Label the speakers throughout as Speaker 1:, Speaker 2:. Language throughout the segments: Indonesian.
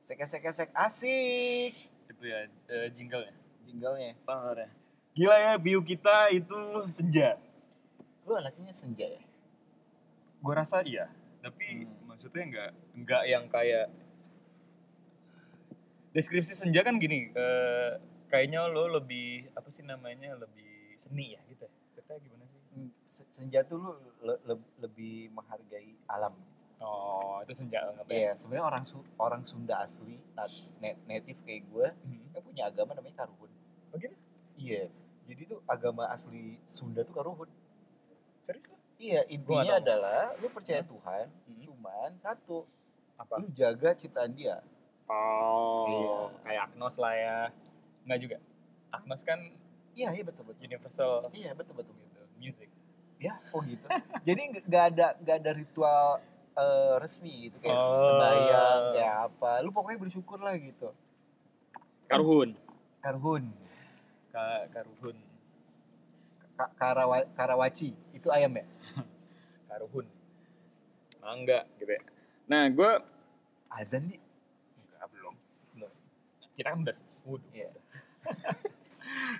Speaker 1: Sek sek sek asik
Speaker 2: Itu ya eh, jingle ya.
Speaker 1: jinglenya.
Speaker 2: Pangarnya. Gila ya bio kita itu senja.
Speaker 1: Lu anaknya senja ya?
Speaker 2: Gua rasa iya. Tapi
Speaker 1: Hmm.
Speaker 2: maksudnya nggak nggak yang kayak deskripsi senja kan gini. eh, kayaknya lo lebih apa sih namanya lebih seni ya gitu. Kita gimana sih?
Speaker 1: Hmm, Se- Senja tuh lu le- le- lebih menghargai alam.
Speaker 2: Oh itu senja banget ya.
Speaker 1: Iya, sebenarnya orang Su- orang Sunda asli, nat- net- native kayak gue,
Speaker 2: Hmm.
Speaker 1: kan punya agama namanya Karuhun.
Speaker 2: Oh gitu?
Speaker 1: Iya. Jadi tuh agama asli Sunda tuh Karuhun.
Speaker 2: Serius lo?
Speaker 1: Iya, intinya
Speaker 2: tahu.
Speaker 1: adalah lu percaya
Speaker 2: Hmm.
Speaker 1: Tuhan,
Speaker 2: Hmm.
Speaker 1: cuman satu,
Speaker 2: Apa?
Speaker 1: lu jaga ciptaan dia.
Speaker 2: Oh, kayak Agnos lah ya. Enggak juga. Agnos kan
Speaker 1: Iya, iya betul betul.
Speaker 2: universal
Speaker 1: Iya, betul betul gitu.
Speaker 2: gitu, music.
Speaker 1: Ya, oh gitu. Jadi nggak- nggak ada nggak ada ritual eh, resmi gitu kayak
Speaker 2: Oh.
Speaker 1: sembahyang kayak apa. Lu pokoknya bersyukur lah gitu.
Speaker 2: Karuhun.
Speaker 1: Karhun,
Speaker 2: Ka Karuhun.
Speaker 1: Ka- Karawa- Karawaci, itu ayam ya?
Speaker 2: Karuhun. Mangga gitu ya. Nah, gue
Speaker 1: Azan di.
Speaker 2: enggak belum. Belum. Kita kan udah wudhu.
Speaker 1: Iya.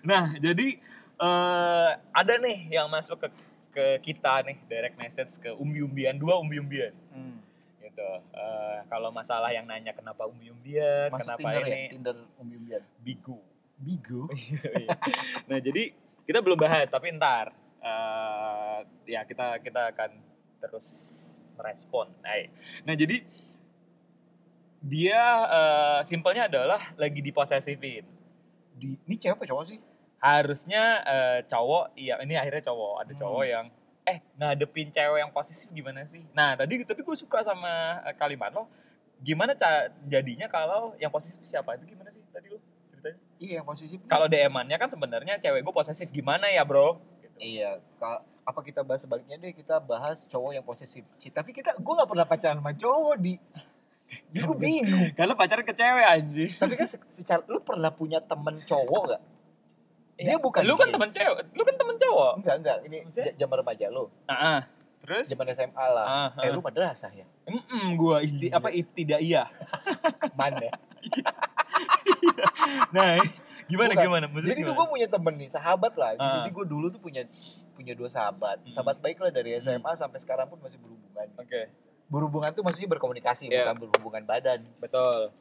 Speaker 2: Nah, jadi eh ada nih yang masuk ke ke kita nih direct message ke umbi-umbian dua umbi-umbian
Speaker 1: Hmm.
Speaker 2: gitu. Eh kalau masalah yang nanya kenapa umbi-umbian,
Speaker 1: Masuk
Speaker 2: kenapa
Speaker 1: Tinder ya,
Speaker 2: ini
Speaker 1: Tinder umbi-umbian.
Speaker 2: bigu.
Speaker 1: Bigo.
Speaker 2: Iya. nah jadi kita belum bahas tapi ntar eh, ya kita kita akan terus merespon. Nah, nah jadi dia eh, simpelnya adalah lagi diposesifin.
Speaker 1: Di, ini cewek apa cowok sih?
Speaker 2: Harusnya eh, cowok, iya ini akhirnya cowok ada
Speaker 1: Hmm.
Speaker 2: cowok yang eh ngadepin cewek yang posesif gimana sih? Nah tadi tapi gue suka sama eh, kalimat lo. Gimana ca- jadinya kalau yang posesif siapa itu gimana sih tadi lo ceritanya?
Speaker 1: Iya, yang posisi.
Speaker 2: kalau DM-annya kan sebenarnya cewek gue posesif gimana ya bro gitu.
Speaker 1: Iya, ka- apa kita bahas sebaliknya deh kita bahas cowok yang posesif. Ci, tapi kita gue nggak pernah pacaran sama cowok di.
Speaker 2: Eh,
Speaker 1: Jadi gue bingung.
Speaker 2: kalau Kan pacaran ke cewek anjir
Speaker 1: tapi kan se- secara lu pernah punya temen cowok gak? Dia bukan
Speaker 2: lu kan
Speaker 1: gay.
Speaker 2: temen cewek lu kan temen cowok
Speaker 1: Enggak, enggak. Ini
Speaker 2: Maksudnya?
Speaker 1: j- zaman remaja lu,
Speaker 2: Ah, ah. terus
Speaker 1: zaman SMA lah.
Speaker 2: ah,
Speaker 1: Eh
Speaker 2: Iya.
Speaker 1: lu madrasah ya?
Speaker 2: gue
Speaker 1: isti- apa,
Speaker 2: apa iftidaiyah
Speaker 1: Mana?
Speaker 2: nah gimana
Speaker 1: Bukan.
Speaker 2: gimana Maksudnya
Speaker 1: Jadi tuh
Speaker 2: gimana?
Speaker 1: gue punya temen nih, sahabat lah.
Speaker 2: Ah.
Speaker 1: Jadi gue dulu tuh punya punya dua sahabat.
Speaker 2: Hmm.
Speaker 1: Sahabat baik lah dari
Speaker 2: Hmm.
Speaker 1: SMA sampai sekarang pun masih berhubungan.
Speaker 2: oke
Speaker 1: Berhubungan tuh maksudnya berkomunikasi,
Speaker 2: Iya.
Speaker 1: bukan berhubungan badan.
Speaker 2: betul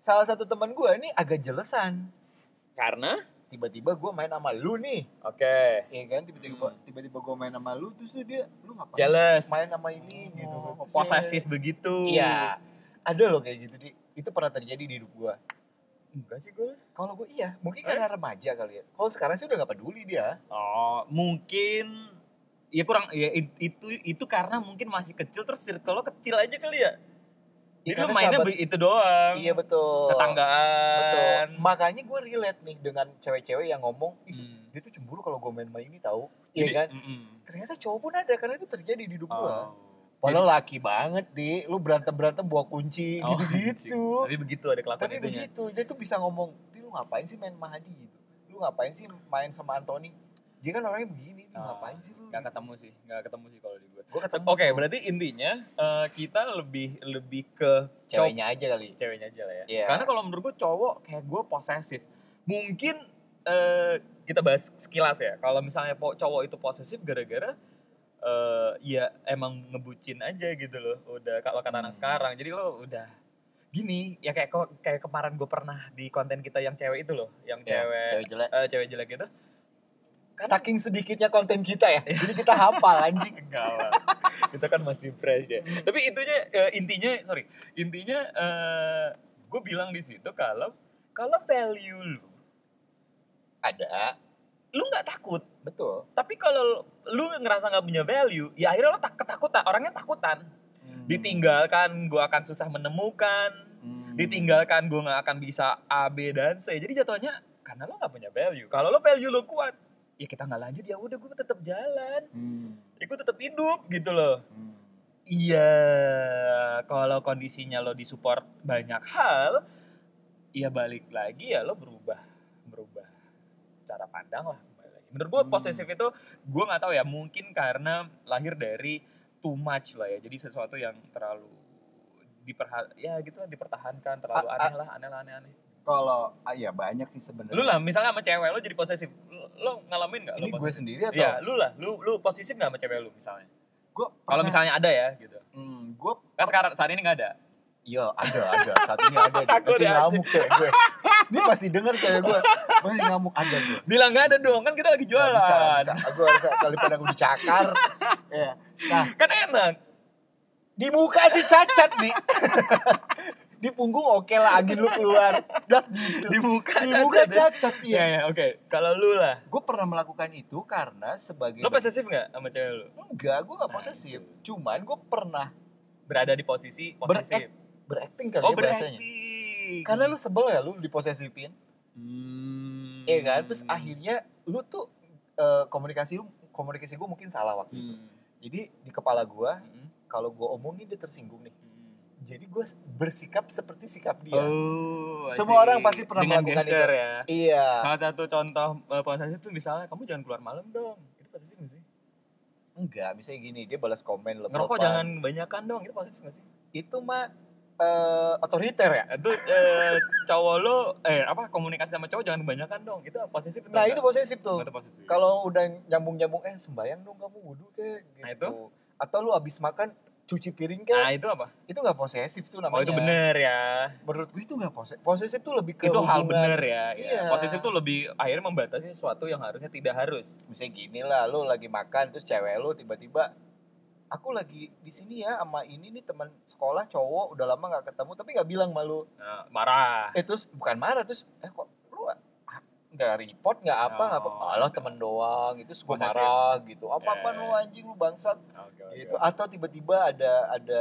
Speaker 1: Salah satu teman gue ini agak jelesan.
Speaker 2: karena
Speaker 1: Tiba-tiba gue main sama lu nih.
Speaker 2: oke
Speaker 1: ya kan tiba-tiba
Speaker 2: Hmm.
Speaker 1: tiba-tiba gue main sama lu terus tuh dia lu ngapain
Speaker 2: Jealous.
Speaker 1: main sama ini gitu kan.
Speaker 2: Oh,
Speaker 1: Terus
Speaker 2: posesif begitu
Speaker 1: ya- iya ada loh kayak gitu di itu pernah terjadi di hidup gue
Speaker 2: enggak sih gue
Speaker 1: kalau gue iya mungkin
Speaker 2: Eh?
Speaker 1: karena remaja kali ya kalau sekarang sih udah gak peduli dia
Speaker 2: oh mungkin ya kurang ya it- itu itu karena mungkin masih kecil terus circle lo kecil aja kali ya
Speaker 1: Iya,
Speaker 2: jadi lo
Speaker 1: karena
Speaker 2: mainnya
Speaker 1: sahabat-
Speaker 2: be- itu doang
Speaker 1: iya betul betul
Speaker 2: tetanggaan
Speaker 1: makanya gue relate nih dengan cewek-cewek yang ngomong Ih,
Speaker 2: Hmm.
Speaker 1: dia tuh cemburu kalau gue main sama ini tahu
Speaker 2: Jadi,
Speaker 1: iya kan
Speaker 2: mm-mm.
Speaker 1: ternyata cowok pun ada karena itu terjadi di hidup gue
Speaker 2: Oh.
Speaker 1: Padahal laki banget deh, lu berantem berantem bawa kunci
Speaker 2: Oh,
Speaker 1: gitu-gitu.
Speaker 2: anjing. Tapi begitu ada kelakuan
Speaker 1: Tapi
Speaker 2: itunya.
Speaker 1: begitu, dia tuh bisa ngomong, "Pi, lu ngapain sih main sama Hadi gitu? Lu ngapain sih main sama Anthony? Dia kan orangnya begini, nih,
Speaker 2: Ah,
Speaker 1: ngapain sih lu?
Speaker 2: Gak ketemu sih, gak ketemu sih kalau di gue.
Speaker 1: Gue ketemu
Speaker 2: Oke, berarti intinya eh, kita lebih lebih ke
Speaker 1: ceweknya aja kali.
Speaker 2: ceweknya aja lah ya.
Speaker 1: Iya.
Speaker 2: Karena kalau menurut gue cowok kayak gue posesif. Mungkin eh, kita bahas sekilas ya. Kalau misalnya po- cowok itu posesif gara-gara eh, ya emang ngebucin aja gitu loh. Udah kalau kata anak
Speaker 1: Hmm.
Speaker 2: sekarang. Jadi lo udah gini ya kayak ko- kayak kemarin gue pernah di konten kita yang cewek itu loh, yang
Speaker 1: Ya,
Speaker 2: cewek
Speaker 1: cewek jelek.
Speaker 2: eh, cewek jelek gitu. Karena
Speaker 1: Saking sedikitnya konten kita ya, jadi kita hafal anjing.
Speaker 2: enggak lah. Kita kan masih fresh ya. Tapi intinya eh, intinya sorry, intinya gue bilang di situ kalau kalau value lu,
Speaker 1: Ada,
Speaker 2: lu nggak takut.
Speaker 1: betul.
Speaker 2: Tapi kalau lu ngerasa nggak punya value, ya akhirnya lo tak ketakutan. Orangnya takutan. Hmm. Ditinggalkan, gue akan susah menemukan.
Speaker 1: Hmm.
Speaker 2: Ditinggalkan, gue nggak akan bisa A, B dan C. Jadi jatuhnya karena lo nggak punya value. Kalau lo value lo kuat, ya kita nggak lanjut. Ya udah, gue tetap jalan.
Speaker 1: Hmm.
Speaker 2: Ya gue tetap hidup gitu loh.
Speaker 1: Hmm.
Speaker 2: Iya, kalau kondisinya lo disupport banyak hal, ya balik lagi ya lo berubah, berubah cara pandang lah. kembali lagi. Menurut gue
Speaker 1: Hmm.
Speaker 2: posesif itu, gue nggak tahu ya, mungkin karena lahir dari too much lah ya, jadi sesuatu yang terlalu diperha ya gitu lah dipertahankan terlalu
Speaker 1: A- a-
Speaker 2: aneh lah aneh lah aneh aneh
Speaker 1: Kalau ah, ya banyak sih sebenarnya.
Speaker 2: lu lah misalnya sama cewek lu jadi posesif lu, lu ngalamin nggak lu
Speaker 1: Ini gue
Speaker 2: posesif?
Speaker 1: sendiri atau?
Speaker 2: Iya, lu lah lu lu posesif nggak sama cewek lu misalnya
Speaker 1: Gue
Speaker 2: kalau
Speaker 1: pernah-
Speaker 2: misalnya ada ya gitu
Speaker 1: Hmm, gue
Speaker 2: kan sekarang saat ini nggak ada
Speaker 1: Iya ada ada saat ini ada di-
Speaker 2: Takut
Speaker 1: nanti
Speaker 2: ya,
Speaker 1: ngamuk cewek gue ini pasti denger cewek gue pasti ngamuk ada gue
Speaker 2: bilang nggak ada dong kan kita lagi
Speaker 1: Gak
Speaker 2: jualan
Speaker 1: bisa gak bisa aku bisa daripada aku dicakar ya nah
Speaker 2: kan enak
Speaker 1: di muka sih cacat nih di punggung oke lah angin lu keluar dah gitu
Speaker 2: di muka
Speaker 1: di muka
Speaker 2: cacat.
Speaker 1: cacat
Speaker 2: Iya,
Speaker 1: iya
Speaker 2: iya, oke kalau lu lah
Speaker 1: gue pernah melakukan itu karena sebagai
Speaker 2: lu posesif nggak sama cewek lu
Speaker 1: enggak gue gak
Speaker 2: Nah,
Speaker 1: posesif
Speaker 2: itu.
Speaker 1: cuman gue pernah
Speaker 2: berada di posisi posesif
Speaker 1: berakting kali
Speaker 2: oh
Speaker 1: ya bahasanya
Speaker 2: berarti
Speaker 1: karena lu sebel ya lu diposesifin
Speaker 2: Hmm.
Speaker 1: Iya kan? Terus akhirnya lu tuh eh, komunikasi lu komunikasi gue mungkin salah waktu itu.
Speaker 2: Hmm.
Speaker 1: Jadi di kepala gua
Speaker 2: Hmm.
Speaker 1: kalau gua omongin dia tersinggung nih. Jadi gue bersikap seperti sikap dia.
Speaker 2: Oh,
Speaker 1: Iya.
Speaker 2: I
Speaker 1: Semua
Speaker 2: see.
Speaker 1: orang pasti pernah
Speaker 2: Dengan
Speaker 1: melakukan
Speaker 2: gesture ya.
Speaker 1: Iya.
Speaker 2: Salah satu contoh eh, posesif tuh misalnya kamu jangan keluar malam dong. Itu posesif nggak sih?
Speaker 1: Enggak, misalnya gini, dia balas komen lebih
Speaker 2: Ngerokok jangan banyakan dong. Itu posesif nggak sih?
Speaker 1: Itu mah eh, otoriter ya.
Speaker 2: Itu eh, cowok lo eh apa komunikasi sama cowok jangan kebanyakan dong. Itu posesif. atau
Speaker 1: Nah,
Speaker 2: nggak?
Speaker 1: itu posesif
Speaker 2: Nggak
Speaker 1: tuh.
Speaker 2: itu posesif.
Speaker 1: Kalau udah nyambung-nyambung eh sembayang dong kamu wudhu kayak gitu.
Speaker 2: Nah, itu?
Speaker 1: Atau lu abis makan cuci piring
Speaker 2: Nah,
Speaker 1: kayak
Speaker 2: itu apa?
Speaker 1: itu nggak posesif tuh namanya.
Speaker 2: Oh, itu bener ya.
Speaker 1: Menurut gue itu nggak posesif. Posesif tuh lebih ke
Speaker 2: itu hal
Speaker 1: hubungan.
Speaker 2: bener ya.
Speaker 1: Iya.
Speaker 2: ya. Posesif tuh lebih akhirnya membatasi sesuatu yang harusnya tidak harus.
Speaker 1: misalnya gini lah lu lagi makan terus cewek lu tiba-tiba aku lagi di sini ya sama ini nih teman sekolah cowok udah lama nggak ketemu tapi nggak bilang malu
Speaker 2: Nah, marah.
Speaker 1: eh terus bukan marah terus eh kok lu ah, nggak report nggak apa nggak apa
Speaker 2: Oh.
Speaker 1: alah temen doang itu gue
Speaker 2: Posesif.
Speaker 1: marah gitu apa apaan
Speaker 2: Eh.
Speaker 1: lu anjing lu bangsat
Speaker 2: Nah, Oke, oke.
Speaker 1: gitu atau tiba-tiba ada ada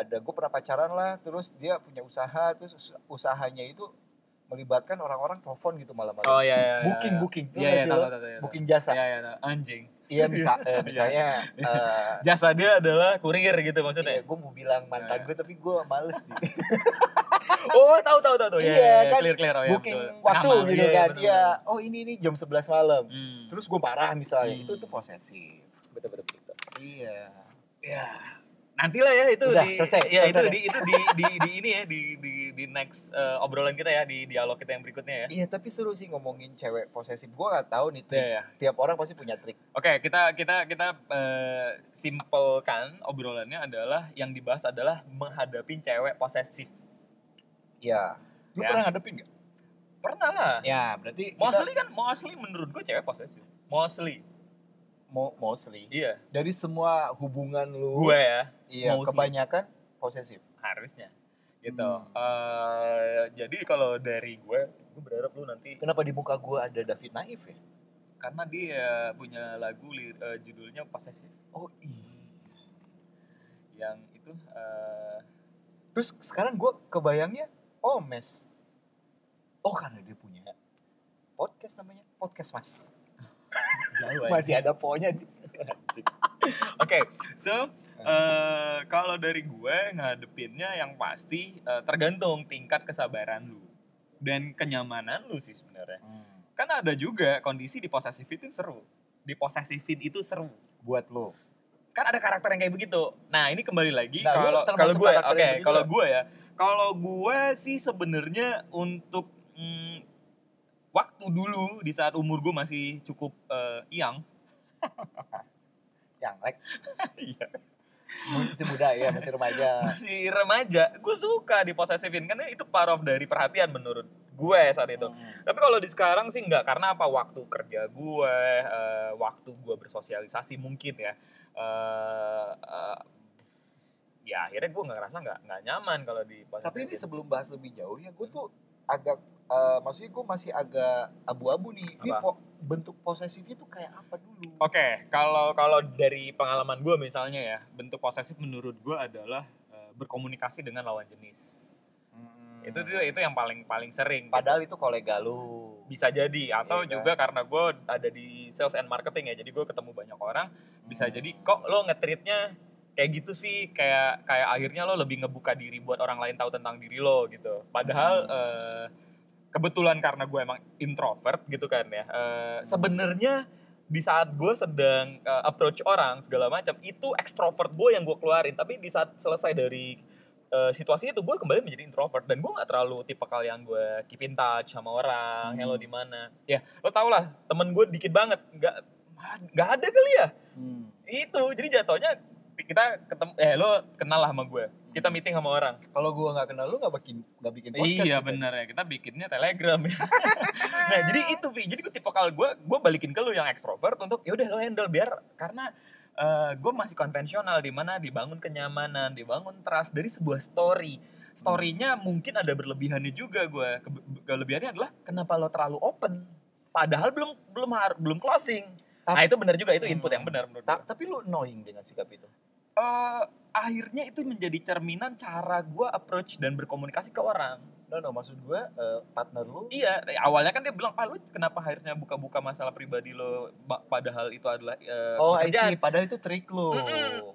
Speaker 1: ada gue pernah pacaran lah terus dia punya usaha terus us- usahanya itu melibatkan orang-orang telepon gitu malam-malam
Speaker 2: Oh iya iya. iya,
Speaker 1: booking
Speaker 2: iya.
Speaker 1: booking Tau
Speaker 2: Iya
Speaker 1: nggak
Speaker 2: iya
Speaker 1: sih
Speaker 2: tahu,
Speaker 1: lo?
Speaker 2: tahu, tahu, tahu.
Speaker 1: booking jasa
Speaker 2: Iya iya tahu. anjing.
Speaker 1: Iya bisa, eh, misalnya eh
Speaker 2: Jasa dia adalah kurir gitu maksudnya.
Speaker 1: gue mau bilang mantan
Speaker 2: Iya.
Speaker 1: gue tapi gue males di
Speaker 2: Oh, tahu tahu tahu tahu.
Speaker 1: Iya,
Speaker 2: iya,
Speaker 1: kan.
Speaker 2: clear clear oh, iya,
Speaker 1: booking
Speaker 2: betul.
Speaker 1: waktu
Speaker 2: Sama,
Speaker 1: gitu kan.
Speaker 2: betul,
Speaker 1: Iya,
Speaker 2: betul.
Speaker 1: oh ini nih jam 11 malam.
Speaker 2: Hmm.
Speaker 1: Terus gue parah misalnya,
Speaker 2: Hmm.
Speaker 1: itu itu posesif. Betul betul betul. Iya.
Speaker 2: ya nantilah ya itu
Speaker 1: Udah,
Speaker 2: di
Speaker 1: selesai.
Speaker 2: ya itu
Speaker 1: Selesai.
Speaker 2: di itu di, di di ini ya di di di next eh, obrolan kita ya di dialog kita yang berikutnya ya.
Speaker 1: Iya, tapi seru sih ngomongin cewek posesif. Gue gak tahu nih,
Speaker 2: Iya
Speaker 1: trik.
Speaker 2: ya.
Speaker 1: tiap orang pasti punya trik.
Speaker 2: Oke, kita kita kita eh, simpelkan obrolannya adalah yang dibahas adalah menghadapi cewek posesif.
Speaker 1: Iya. Lu
Speaker 2: Ya.
Speaker 1: pernah ngadepin gak?
Speaker 2: Pernah lah.
Speaker 1: Ya, berarti kita,
Speaker 2: Mostly kan mostly menurut gue cewek posesif. Mostly.
Speaker 1: mo- mostly.
Speaker 2: Iya.
Speaker 1: Dari semua hubungan lu,
Speaker 2: Gue ya.
Speaker 1: iya,
Speaker 2: mostly.
Speaker 1: kebanyakan posesif.
Speaker 2: harusnya gitu
Speaker 1: Hmm.
Speaker 2: Eh, jadi kalau dari gue gue berharap lu nanti
Speaker 1: Kenapa di muka gue ada David Naif ya?
Speaker 2: karena dia punya lagu lir- eh, judulnya posesif
Speaker 1: Oh iya.
Speaker 2: yang itu eh,
Speaker 1: Terus sekarang gue kebayangnya Omes. Oh karena dia punya podcast namanya podcast mas.
Speaker 2: jauh aja.
Speaker 1: Masih ada ponya. di-
Speaker 2: Anjing. Oke, so eh, kalau dari gue ngadepinnya yang pasti eh, tergantung tingkat kesabaran lu dan kenyamanan lu sih sebenarnya.
Speaker 1: Hmm.
Speaker 2: Kan ada juga kondisi diposesifin seru. Diposesifin itu seru.
Speaker 1: Buat lo.
Speaker 2: kan ada karakter yang kayak begitu. Nah ini kembali lagi
Speaker 1: Nah, lu
Speaker 2: kalau
Speaker 1: termasuk
Speaker 2: kalau gue,
Speaker 1: karakter
Speaker 2: oke
Speaker 1: yang gitu. begitu.
Speaker 2: kalau gue ya, kalau gue sih sebenarnya untuk mm, waktu dulu di saat umur gue masih cukup eh, young,
Speaker 1: Yang like masih muda ya, masih remaja.
Speaker 2: masih remaja, gue suka diposesifin karena itu part of dari perhatian menurut gue saat itu.
Speaker 1: Hmm.
Speaker 2: Tapi kalau di sekarang sih nggak karena apa waktu kerja gue, eh, waktu gue bersosialisasi mungkin ya. eh, eh, ya akhirnya gue nggak ngerasa nggak nggak nyaman kalau di posisi
Speaker 1: Tapi ini sebelum bahas lebih jauh ya, gue tuh agak eh, maksudnya gue masih agak abu-abu nih. Ini
Speaker 2: Apa? Oh.
Speaker 1: po- bentuk posesifnya tuh kayak apa dulu?
Speaker 2: Oke, kalau kalau dari pengalaman gue misalnya ya, bentuk posesif menurut gue adalah eh, berkomunikasi dengan lawan jenis.
Speaker 1: Hmm.
Speaker 2: Itu, itu itu yang paling paling sering.
Speaker 1: Padahal itu kolega lu.
Speaker 2: bisa jadi atau
Speaker 1: Iya kan?
Speaker 2: juga karena gue ada di sales and marketing ya, jadi gue ketemu banyak orang. Bisa
Speaker 1: Hmm.
Speaker 2: jadi kok lo ngetritnya kayak gitu sih, kayak kayak akhirnya lo lebih ngebuka diri buat orang lain tahu tentang diri lo gitu. Padahal
Speaker 1: Hmm.
Speaker 2: eh, kebetulan karena gue emang introvert gitu kan ya. eh, Sebenarnya di saat gue sedang eh, approach orang segala macam itu ekstrovert gue yang gue keluarin tapi di saat selesai dari eh, situasi itu gue kembali menjadi introvert dan gue nggak terlalu tipe kali yang gue keep in touch sama orang hello di mana ya lo tau lah temen gue dikit banget nggak nggak ada kali ya
Speaker 3: Hmm.
Speaker 2: itu jadi jatuhnya kita ketemu eh lo kenal lah sama gue kita meeting sama orang
Speaker 1: Kalau gua nggak kenal lu nggak bikin nggak bikin podcast.
Speaker 2: iya
Speaker 1: gitu.
Speaker 2: bener ya kita bikinnya telegram ya nah jadi itu Vi jadi gue tipe kalau gue gue balikin ke lu yang ekstrovert untuk ya udah lo handle biar karena eh, gue masih konvensional di mana dibangun kenyamanan dibangun trust dari sebuah story storynya mungkin ada berlebihannya juga gue Kebe- kelebihannya adalah kenapa lo terlalu open padahal belum belum har- belum closing nah itu benar juga itu input yang benar menurut
Speaker 1: Ta-
Speaker 2: gue
Speaker 1: tapi lu annoying dengan sikap itu.
Speaker 2: Eh, akhirnya itu menjadi cerminan cara gue approach dan berkomunikasi ke orang
Speaker 1: No no maksud gua eh, partner lu
Speaker 2: Iya, eh, awalnya kan dia bilang, "Pak, lu kenapa akhirnya buka-buka masalah pribadi lo ba- padahal itu adalah eh,
Speaker 1: Oh, I
Speaker 2: pekerjaan."
Speaker 1: see. Padahal itu trik lu.
Speaker 2: Mm-mm,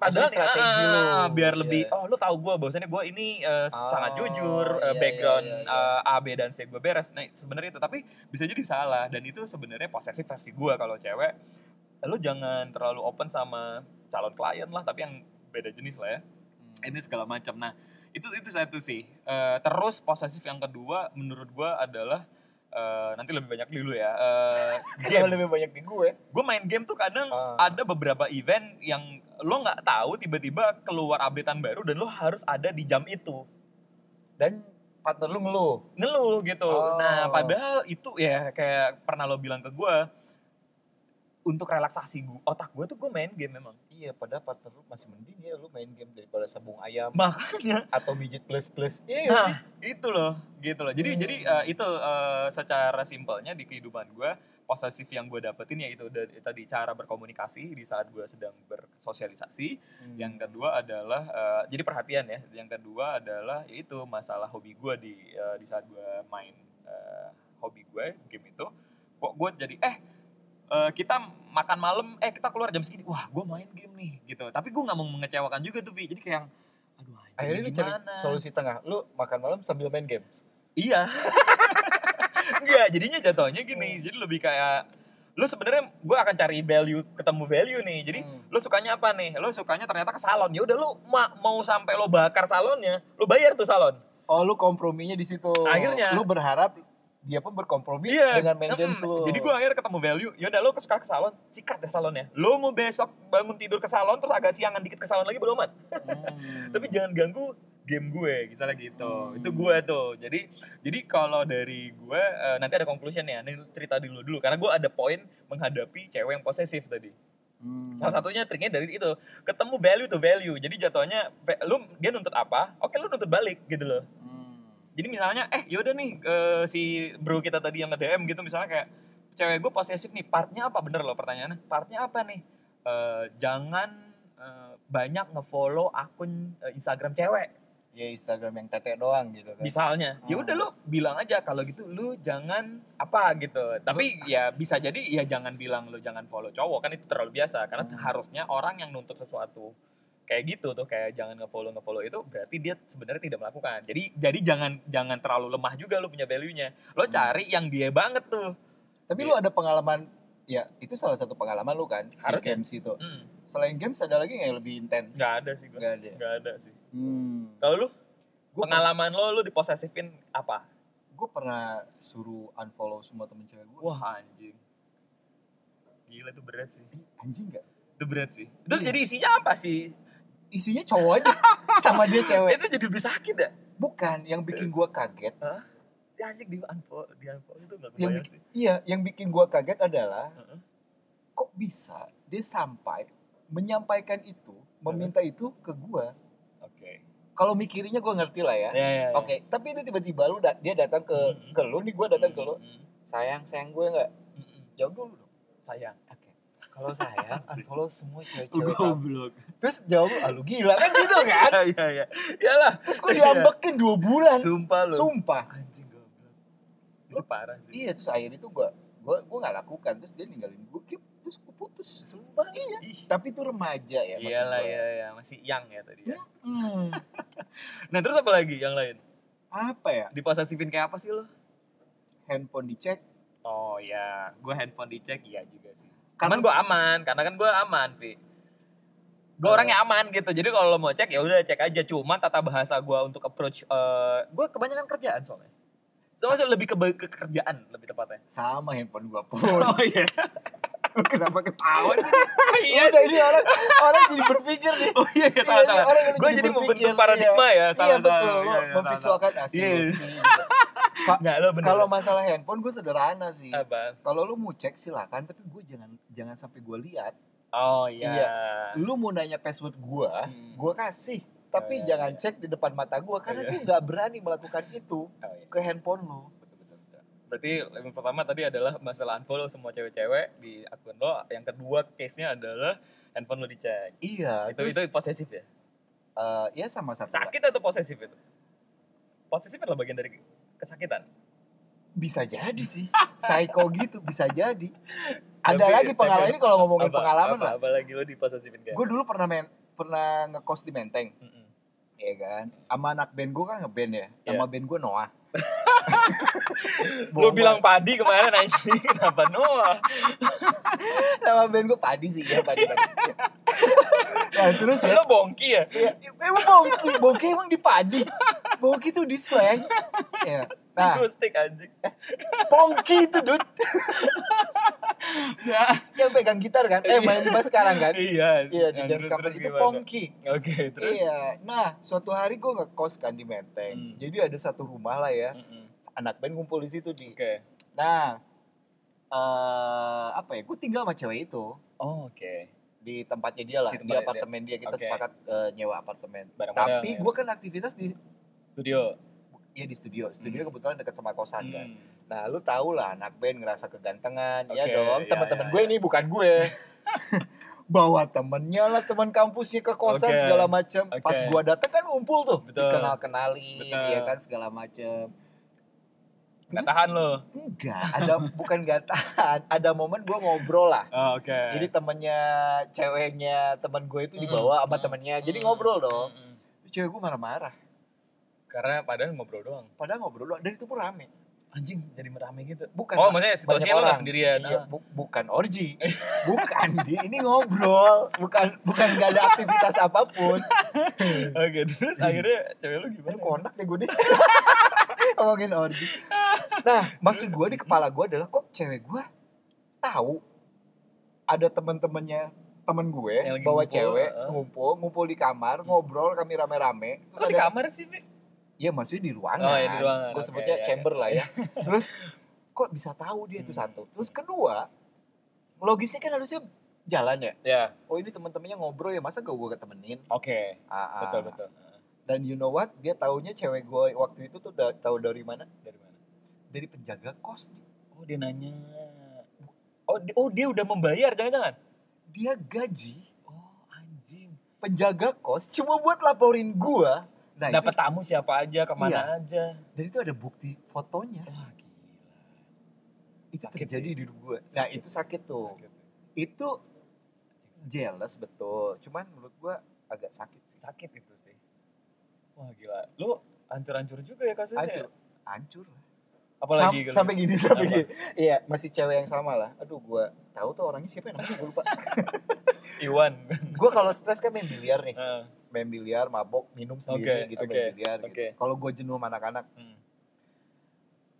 Speaker 1: Maksudnya
Speaker 2: Padahal
Speaker 1: strategi
Speaker 2: ah,
Speaker 1: lu.
Speaker 2: biar
Speaker 1: Iya.
Speaker 2: lebih oh lu tahu gue bahwasannya gue ini eh,
Speaker 1: Oh,
Speaker 2: sangat jujur eh,
Speaker 1: iya, iya,
Speaker 2: background
Speaker 1: iya,
Speaker 2: eh, A B dan C gue beres. Nah sebenarnya itu tapi bisa jadi salah dan itu sebenarnya posesif versi gue kalau cewek lu jangan terlalu open sama calon klien lah tapi yang beda jenis lah ya ini segala macam. Nah, itu itu satu sih. Eh, terus posesif yang kedua menurut gua adalah eh, nanti lebih banyak dulu ya. Eh,
Speaker 1: Kenapa
Speaker 2: game.
Speaker 1: lebih banyak di gue.
Speaker 2: Gue main game tuh kadang
Speaker 1: Ah.
Speaker 2: ada beberapa event yang lo nggak tahu tiba-tiba keluar updatean baru dan lo harus ada di jam itu
Speaker 1: Dan partner lu ngeluh.
Speaker 2: ngeluh gitu.
Speaker 1: Oh.
Speaker 2: Nah, padahal itu ya kayak pernah lo bilang ke gua untuk relaksasi gua, otak gua tuh gue main game memang.
Speaker 1: Iya, padahal partner lu masih mending ya lu main game daripada sabung ayam
Speaker 2: Makanya
Speaker 1: atau mijit plus plus. Iya.
Speaker 2: Nah, itu loh, gitu loh. Jadi
Speaker 1: Hmm.
Speaker 2: jadi eh, itu eh, secara simpelnya di kehidupan gue posesif yang gue dapetin ya itu da- tadi cara berkomunikasi di saat gue sedang bersosialisasi.
Speaker 1: Hmm.
Speaker 2: Yang kedua adalah eh, jadi perhatian ya. Yang kedua adalah yaitu masalah hobi gue di eh, di saat gue main eh, hobi gue game itu. Kok gue jadi eh eh, kita makan malam eh kita keluar jam segini wah gue main game nih gitu tapi gue nggak mau mengecewakan juga tuh Pi. jadi kayak yang, aduh anjing,
Speaker 1: akhirnya lu cari
Speaker 2: gimana?
Speaker 1: solusi tengah. Lu makan malam sambil main games.
Speaker 2: Iya. Enggak, jadinya jatuhnya
Speaker 1: Hmm.
Speaker 2: gini. Jadi lebih kayak lu sebenarnya gue akan cari value ketemu value nih. Jadi
Speaker 1: Hmm.
Speaker 2: lu sukanya apa nih? Lu sukanya ternyata ke salon. Ya udah lu ma- mau sampai lu bakar salonnya, lu bayar tuh salon.
Speaker 1: Oh, lu komprominya di situ.
Speaker 2: Akhirnya.
Speaker 1: lu berharap dia pun berkompromi
Speaker 2: Iya.
Speaker 1: dengan main games
Speaker 2: Mm-mm.
Speaker 1: lu.
Speaker 2: Jadi gue akhirnya ketemu value. Ya udah lu suka ke salon, sikat deh salonnya. Lu mau besok bangun tidur ke salon terus agak siangan dikit ke salon lagi belum amat.
Speaker 1: Hmm.
Speaker 2: tapi jangan ganggu game gue misalnya gitu
Speaker 1: Hmm.
Speaker 2: itu gue tuh jadi jadi kalau dari gue eh, nanti ada conclusion ya Nih, cerita dulu dulu karena gue ada poin menghadapi cewek yang posesif tadi
Speaker 1: Hmm.
Speaker 2: salah satunya triknya dari itu ketemu value to value jadi jatuhnya ve- lu dia nuntut apa oke lu nuntut balik gitu loh
Speaker 1: Hmm.
Speaker 2: jadi misalnya eh yaudah nih eh, si bro kita tadi yang nge DM gitu misalnya kayak cewek gue posesif nih partnya apa bener loh pertanyaannya partnya apa nih Eh, jangan eh, banyak ngefollow akun eh, Instagram cewek
Speaker 1: Ya Instagram yang tete doang gitu kan.
Speaker 2: misalnya ya udah lu bilang aja kalau gitu lu jangan apa gitu tapi ya bisa jadi ya jangan bilang lu jangan follow cowok kan itu terlalu biasa karena
Speaker 1: Hmm.
Speaker 2: harusnya orang yang nuntut sesuatu kayak gitu tuh kayak jangan ngefollow ngefollow itu berarti dia sebenarnya tidak melakukan jadi jadi jangan jangan terlalu lemah juga lu punya value nya lo
Speaker 1: Hmm.
Speaker 2: cari yang dia banget tuh
Speaker 1: Tapi lu ada pengalaman ya itu salah satu pengalaman lu kan si
Speaker 2: Harusnya.
Speaker 1: games itu.
Speaker 2: Hmm,
Speaker 1: Selain games ada lagi nggak yang lebih intens?
Speaker 2: nggak ada sih gue
Speaker 1: Nggak ada.
Speaker 2: nggak ada sih
Speaker 1: Hmm.
Speaker 2: kalau lu
Speaker 1: Gua-
Speaker 2: pengalaman lo lu diposesifin apa
Speaker 1: gue pernah suruh unfollow semua temen cewek gue
Speaker 2: wah anjing gila itu berat sih
Speaker 1: anjing gak
Speaker 2: itu berat sih itu
Speaker 1: Iya.
Speaker 2: jadi isinya apa sih
Speaker 1: isinya cowok aja sama dia cewek
Speaker 2: itu jadi lebih sakit ya
Speaker 1: bukan yang bikin gue kaget
Speaker 2: ya anjing di unfollow di unfollow itu nggak
Speaker 1: yang
Speaker 2: kebayang
Speaker 1: bikin-
Speaker 2: sih
Speaker 1: iya yang bikin gue kaget adalah
Speaker 2: Heeh.
Speaker 1: kok bisa dia sampai menyampaikan itu meminta itu ke gue
Speaker 2: oke
Speaker 1: kalau mikirnya gue ngerti lah ya
Speaker 2: ya ya
Speaker 1: Oke, tapi ini tiba-tiba lu da- dia datang ke
Speaker 2: Mhm.
Speaker 1: ke lu nih gue datang ke lu. Sayang, sayang gue nggak jauh dulu dong.
Speaker 2: sayang
Speaker 1: Oke. Kalau sayang, unfollow semua cewek-cewek. kamu.
Speaker 2: goblok
Speaker 1: Terus jawab, ah lu gila kan gitu kan?
Speaker 2: ya ya ya iyalah
Speaker 1: Terus gue diambekin dua bulan.
Speaker 2: sumpah lu
Speaker 1: Sumpah.
Speaker 2: anjing goblok itu parah sih
Speaker 1: Iya terus akhirnya itu gue gue gue nggak lakukan terus dia ninggalin gue dia- terus gue putus. Sumpah iya.
Speaker 2: Ih.
Speaker 1: Tapi itu remaja ya. maksud
Speaker 2: iyalah
Speaker 1: gua.
Speaker 2: ya ya masih young ya tadi ya
Speaker 1: Hmm,
Speaker 2: nah terus apa lagi yang lain
Speaker 1: apa ya?
Speaker 2: diposesifin kayak apa sih lo
Speaker 1: Handphone dicek.
Speaker 2: oh ya gue handphone dicek iya juga sih
Speaker 1: Karena-
Speaker 2: Cuman gue aman, karena kan gue aman, Pi.
Speaker 1: Oh.
Speaker 2: gue orangnya aman gitu jadi kalau lo mau cek ya udah cek aja cuma tata bahasa gue untuk approach eh gue kebanyakan kerjaan soalnya soalnya lebih ke, ke kerjaan lebih tepatnya
Speaker 1: Sama handphone gua pun.
Speaker 2: iya
Speaker 1: Lu Kenapa ketawa sih?
Speaker 2: iya
Speaker 1: Udah ini orang orang jadi berpikir nih.
Speaker 2: oh iya iya salah
Speaker 1: Iya,
Speaker 2: salah
Speaker 1: orang
Speaker 2: gue jadi membentuk paradigma
Speaker 1: Iya,
Speaker 2: ya
Speaker 1: iya
Speaker 2: salah
Speaker 1: betul.
Speaker 2: salah
Speaker 1: Lo
Speaker 2: Iya, iya, salah, salah.
Speaker 1: memvisualkan asli.
Speaker 2: Iya.
Speaker 1: Ka-
Speaker 2: nggak lo bener Ah,
Speaker 1: Kalau masalah handphone gue sederhana sih.
Speaker 2: apa
Speaker 1: Kalau lu mau cek silakan, tapi gue jangan jangan sampai gue lihat.
Speaker 2: oh iya,
Speaker 1: Iya. Lu mau nanya password gue,
Speaker 2: Hmm.
Speaker 1: gue kasih. Tapi
Speaker 2: Iya, iya,
Speaker 1: jangan
Speaker 2: iya.
Speaker 1: cek di depan mata gue karena
Speaker 2: Iya.
Speaker 1: gue nggak berani melakukan itu
Speaker 2: Oh, iya.
Speaker 1: ke handphone lu.
Speaker 2: Betul, betul, betul. Berarti yang pertama tadi adalah masalah unfollow semua cewek-cewek di akun lo. Yang kedua case-nya adalah handphone lo dicek.
Speaker 1: Iya.
Speaker 2: Itu itu posesif ya.
Speaker 1: eh, ya sama satu. lah.
Speaker 2: Sakit atau posesif itu? Posesif adalah bagian dari kesakitan.
Speaker 1: Bisa jadi sih. Psycho gitu bisa jadi. Ada
Speaker 2: Tapi-
Speaker 1: lagi pengalaman ini kalau ngomongin
Speaker 2: Apa-
Speaker 1: pengalaman
Speaker 2: apa,
Speaker 1: lah.
Speaker 2: Apalagi lo diposesifin kayak.
Speaker 1: Gue dulu pernah main pernah ngekos di Menteng.
Speaker 2: Mm-mm.
Speaker 1: Iya kan? Sama anak band gue kan ngeband ya.
Speaker 2: Iya.
Speaker 1: Nama band gue Noah.
Speaker 2: Lo
Speaker 1: Bohong
Speaker 2: bilang padi kemarin anjing kenapa Noah?
Speaker 1: banget. nama band gue Padi sih ya Padi. Padi. nah, terus ya,
Speaker 2: Lo bongki ya?
Speaker 1: ya, emang bongki, bongki emang di Padi. Bongki tuh di slang. Ya. Nah,
Speaker 2: Itu stick anjing.
Speaker 1: pongki itu dude
Speaker 2: Ya.
Speaker 1: yang pegang gitar kan. Eh main bass sekarang kan.
Speaker 2: Iya.
Speaker 1: Iya di
Speaker 2: Yang
Speaker 1: dance
Speaker 2: terus-
Speaker 1: cover
Speaker 2: terus
Speaker 1: itu
Speaker 2: gimana?
Speaker 1: pongki.
Speaker 2: Oke, terus.
Speaker 1: Iya. Nah, suatu hari gue ngekos kan di Menteng.
Speaker 2: Hmm.
Speaker 1: Jadi ada satu rumah lah ya.
Speaker 2: Mm-mm.
Speaker 1: Anak band ngumpul di situ di.
Speaker 2: Oke.
Speaker 1: Nah, eh apa ya? Gue tinggal sama cewek itu
Speaker 2: Oh, oke.
Speaker 1: di tempatnya dia lah,
Speaker 2: Si
Speaker 1: di
Speaker 2: tempat-
Speaker 1: apartemen dia kita
Speaker 2: Oke.
Speaker 1: sepakat eh, nyewa apartemen.
Speaker 2: Barang-barang
Speaker 1: Tapi
Speaker 2: ya.
Speaker 1: gue kan aktivitas di
Speaker 2: studio.
Speaker 1: ya di studio. Studio
Speaker 2: Hmm.
Speaker 1: kebetulan dekat sama kosan kan.
Speaker 2: Hmm.
Speaker 1: Nah, lu tau lah anak band ngerasa kegantengan, ya
Speaker 2: Oke,
Speaker 1: dong.
Speaker 2: iya,
Speaker 1: Teman-teman
Speaker 2: iya,
Speaker 1: gue
Speaker 2: iya.
Speaker 1: ini bukan gue. Bawa temennya lah teman kampusnya ke kosan
Speaker 2: Oke.
Speaker 1: segala macam.
Speaker 2: Oke.
Speaker 1: Pas gua datang kan ngumpul tuh,
Speaker 2: Betul.
Speaker 1: dikenal-kenalin,
Speaker 2: Betul.
Speaker 1: ya kan segala macam.
Speaker 2: Nggak
Speaker 1: Terus-
Speaker 2: tahan lo.
Speaker 1: Enggak, ada bukan gak tahan, ada momen gue ngobrol lah.
Speaker 2: Oh, Oke.
Speaker 1: Jadi temennya, ceweknya temen gue itu dibawa sama
Speaker 2: Mm.
Speaker 1: temennya, jadi
Speaker 2: Mm.
Speaker 1: ngobrol dong.
Speaker 2: Mm-mm.
Speaker 1: Terus Cewek gue marah-marah,
Speaker 2: Karena padahal ngobrol doang.
Speaker 1: padahal ngobrol doang, dan itu pun rame.
Speaker 2: Anjing jadi merame gitu.
Speaker 1: Bukan
Speaker 2: Oh, maksudnya
Speaker 1: banyak
Speaker 2: situasinya lo
Speaker 1: orang.
Speaker 2: sendirian.
Speaker 1: Iya,
Speaker 2: Ah.
Speaker 1: bu- bukan orgi, bukan di, ini ngobrol, bukan bukan gak ada aktivitas apapun.
Speaker 2: Oke, terus
Speaker 1: Iya.
Speaker 2: akhirnya cewek lu gimana?
Speaker 1: Aduh konak deh gue deh. Ngomongin orgi. Nah, maksud gue di kepala gue adalah kok cewek gue tahu ada temen-temennya temen gue
Speaker 2: Yang lagi
Speaker 1: bawa
Speaker 2: ngumpul,
Speaker 1: cewek
Speaker 2: heeh.
Speaker 1: ngumpul ngumpul di kamar ngobrol kami rame-rame terus
Speaker 2: Kok di
Speaker 1: ada
Speaker 2: kamar sih, Bi?
Speaker 1: ya maksudnya di ruangan,
Speaker 2: Oh, ya, di ruangan.
Speaker 1: gue
Speaker 2: Oke,
Speaker 1: sebutnya
Speaker 2: iya,
Speaker 1: chamber lah ya terus kok bisa tahu dia itu
Speaker 2: Hmm.
Speaker 1: satu terus kedua logisnya kan harusnya jalan ya
Speaker 2: Ya,
Speaker 1: oh ini temen-temennya ngobrol ya masa gak gue ketemenin
Speaker 2: oke.
Speaker 1: Ah, ah.
Speaker 2: Betul, betul.
Speaker 1: dan you know what dia taunya cewek gue waktu itu tuh da- tahu dari mana
Speaker 2: Dari mana?
Speaker 1: dari penjaga kos
Speaker 2: Oh, dia nanya. Oh, di- oh dia udah membayar, jangan-jangan.
Speaker 1: dia gaji
Speaker 2: Oh, anjing.
Speaker 1: penjaga kos cuma buat laporin gua. Nah, itu,
Speaker 2: Dapat
Speaker 1: Iya.
Speaker 2: tamu siapa aja, kemana aja.
Speaker 1: dan itu ada bukti fotonya.
Speaker 2: Wah, gila.
Speaker 1: Itu
Speaker 2: Sakit
Speaker 1: terjadi
Speaker 2: sih.
Speaker 1: di hidup gua. Nah,
Speaker 2: Sakit.
Speaker 1: itu sakit tuh.
Speaker 2: Sakit sih.
Speaker 1: Itu jealous betul. Cuman menurut gua agak sakit.
Speaker 2: Sakit itu sih. Wah, gila. Lu hancur-hancur juga ya kasusnya.
Speaker 1: Hancur. Hancur. lah.
Speaker 2: Apalagi
Speaker 1: Sam-
Speaker 2: kalau- gitu.
Speaker 1: sampai gini, sampai
Speaker 2: Apa?
Speaker 1: gini. Iya, masih cewek yang sama lah. Aduh, gua tahu tuh orangnya siapa yang namanya gua lupa.
Speaker 2: Iwan.
Speaker 1: gua kalau stres kan main biliar nih.
Speaker 2: Ah,
Speaker 1: Main biliar, mabok, minum sendiri
Speaker 2: Oke,
Speaker 1: gitu
Speaker 2: oke,
Speaker 1: main biliar gitu.
Speaker 2: oke.
Speaker 1: Kalau gua jenuh sama anak-anak,
Speaker 2: hmm.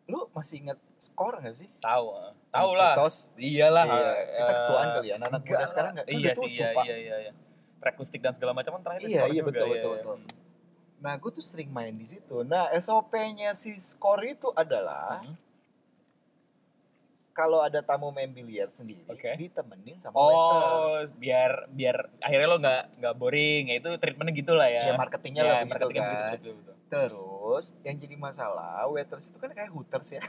Speaker 1: lu masih inget skor gak sih?
Speaker 2: Tahu, ah. tahu lah.
Speaker 1: Citos,
Speaker 2: Iyalah.
Speaker 1: Iya, kita
Speaker 2: eh,
Speaker 1: ketuaan kali ya. Anak-anak
Speaker 2: enggak
Speaker 1: muda
Speaker 2: lah.
Speaker 1: sekarang enggak kan
Speaker 2: Iya
Speaker 1: udah
Speaker 2: sih,
Speaker 1: tutup,
Speaker 2: iya,
Speaker 1: Pak.
Speaker 2: iya, iya, iya. Track kustik dan segala macam kan terakhir di
Speaker 1: Iya,
Speaker 2: skor
Speaker 1: iya,
Speaker 2: juga,
Speaker 1: betul,
Speaker 2: iya,
Speaker 1: betul,
Speaker 2: iya.
Speaker 1: betul.
Speaker 2: Hmm.
Speaker 1: Nah, gue tuh sering main di situ. Nah, SOP-nya si skor itu adalah
Speaker 2: Hmm.
Speaker 1: kalau ada tamu main biliar sendiri,
Speaker 2: Oke.
Speaker 1: ditemenin sama
Speaker 2: Oh,
Speaker 1: waiters.
Speaker 2: biar biar akhirnya lo nggak nggak boring, ya itu treatmentnya gitulah ya.
Speaker 1: Ya, marketingnya
Speaker 2: Iya,
Speaker 1: lah begitu
Speaker 2: marketingnya
Speaker 1: kan.
Speaker 2: begitu, betul, betul.
Speaker 1: Terus, yang jadi masalah, waiters itu kan kayak hooters ya.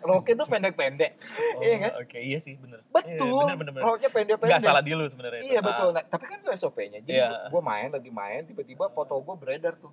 Speaker 1: Roknya tuh pendek-pendek.
Speaker 2: Oh,
Speaker 1: Iya kan?
Speaker 2: Oke, iya sih, bener.
Speaker 1: Betul.
Speaker 2: Iya, bener, bener, bener.
Speaker 1: Roknya pendek-pendek.
Speaker 2: Nggak salah di lo sebenarnya. itu.
Speaker 1: Iya, betul.
Speaker 2: Ah,
Speaker 1: Nah, tapi kan itu SOP-nya. Jadi
Speaker 2: Iya.
Speaker 1: gue main, lagi main, tiba-tiba foto gue beredar tuh.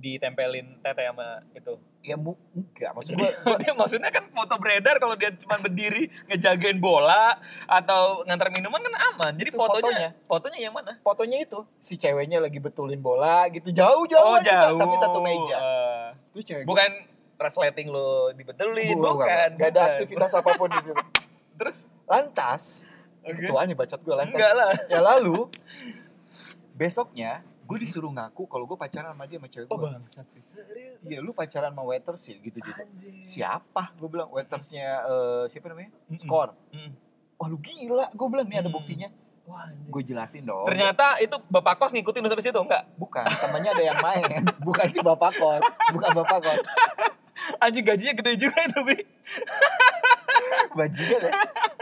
Speaker 2: Ditempelin tete sama itu.
Speaker 1: Ya, mu- enggak. Maksud gue,
Speaker 2: Dia maksudnya kan foto beredar kalau dia cuma berdiri ngejagain bola atau ngantar minuman kan aman. Jadi
Speaker 1: Itu
Speaker 2: fotonya, fotonya yang mana?
Speaker 1: fotonya itu si ceweknya lagi betulin bola gitu
Speaker 2: Oh,
Speaker 1: jauh-jauh tapi satu meja
Speaker 2: Eh,
Speaker 1: terus cewek gua-
Speaker 2: bukan resleting lo dibetulin,
Speaker 1: Bukan,
Speaker 2: bukan.
Speaker 1: nggak ada
Speaker 2: bukan.
Speaker 1: aktivitas apapun di situ
Speaker 2: Terus?
Speaker 1: lantas
Speaker 2: Oke. gitu.
Speaker 1: ketuaan nih bacot gue lantas
Speaker 2: Enggak lah.
Speaker 1: ya lalu Ya, besoknya gue disuruh ngaku kalau gue pacaran sama dia sama cewek
Speaker 2: Oh
Speaker 1: gue
Speaker 2: bangsat sih. Serius.
Speaker 1: iya lu pacaran sama waiters ya gitu gitu
Speaker 2: Anjing.
Speaker 1: siapa gue bilang waitersnya eh, siapa namanya
Speaker 2: Mm-mm.
Speaker 1: skor
Speaker 2: Mm-mm.
Speaker 1: wah lu gila gue bilang nih ada
Speaker 2: Hmm.
Speaker 1: buktinya
Speaker 2: Wah, anjing.
Speaker 1: gue jelasin dong
Speaker 2: Ternyata itu Bapak Kos ngikutin lu sampai situ enggak?
Speaker 1: bukan temannya ada yang main bukan si bapak kos bukan bapak kos
Speaker 2: Anjing gajinya gede juga itu, Bi.
Speaker 1: bajingan ya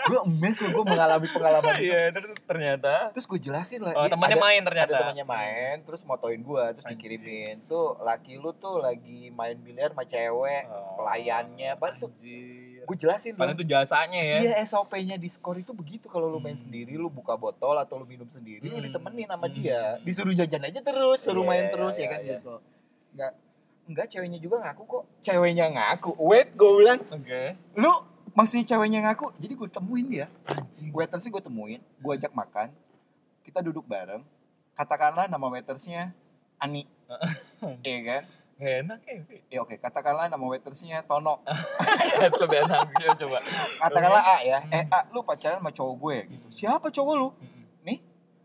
Speaker 1: gue emes loh gue mengalami pengalaman itu
Speaker 2: Iya, terus ternyata
Speaker 1: terus gue jelasin lah "Ih,
Speaker 2: oh,
Speaker 1: Iya,
Speaker 2: temannya
Speaker 1: ada-
Speaker 2: main ternyata.
Speaker 1: ada temannya main terus motoin gua terus
Speaker 2: Anjing.
Speaker 1: dikirimin tuh laki lu tuh lagi main biliar sama cewek
Speaker 2: Oh,
Speaker 1: pelayannya apa tuh
Speaker 2: Anjir.
Speaker 1: gue jelasin
Speaker 2: Padahal
Speaker 1: dong
Speaker 2: itu jasanya ya.
Speaker 1: Iya SOP-nya di skor itu begitu kalau lu main
Speaker 2: Hmm.
Speaker 1: sendiri lu buka botol atau lu minum sendiri lu
Speaker 2: Hmm.
Speaker 1: ditemenin sama
Speaker 2: Hmm.
Speaker 1: dia disuruh jajan aja terus suruh
Speaker 2: Iya,
Speaker 1: main
Speaker 2: iya,
Speaker 1: terus
Speaker 2: iya,
Speaker 1: ya kan
Speaker 2: iya.
Speaker 1: gitu nggak nggak ceweknya juga ngaku kok ceweknya ngaku wait gue bilang
Speaker 2: Oke.
Speaker 1: lu maksudnya ceweknya ngaku jadi gue temuin dia
Speaker 2: Anjing.
Speaker 1: waitersnya gue temuin gue ajak makan kita duduk bareng katakanlah nama waitersnya Ani iya kan
Speaker 2: Gak enak ya, Bi.
Speaker 1: ya oke katakanlah nama waitersnya Tono
Speaker 2: Ah, Itu lebih enak ya coba.
Speaker 1: katakanlah A ya
Speaker 2: Hmm.
Speaker 1: eh A lu pacaran sama cowok gue ya gitu siapa cowok lu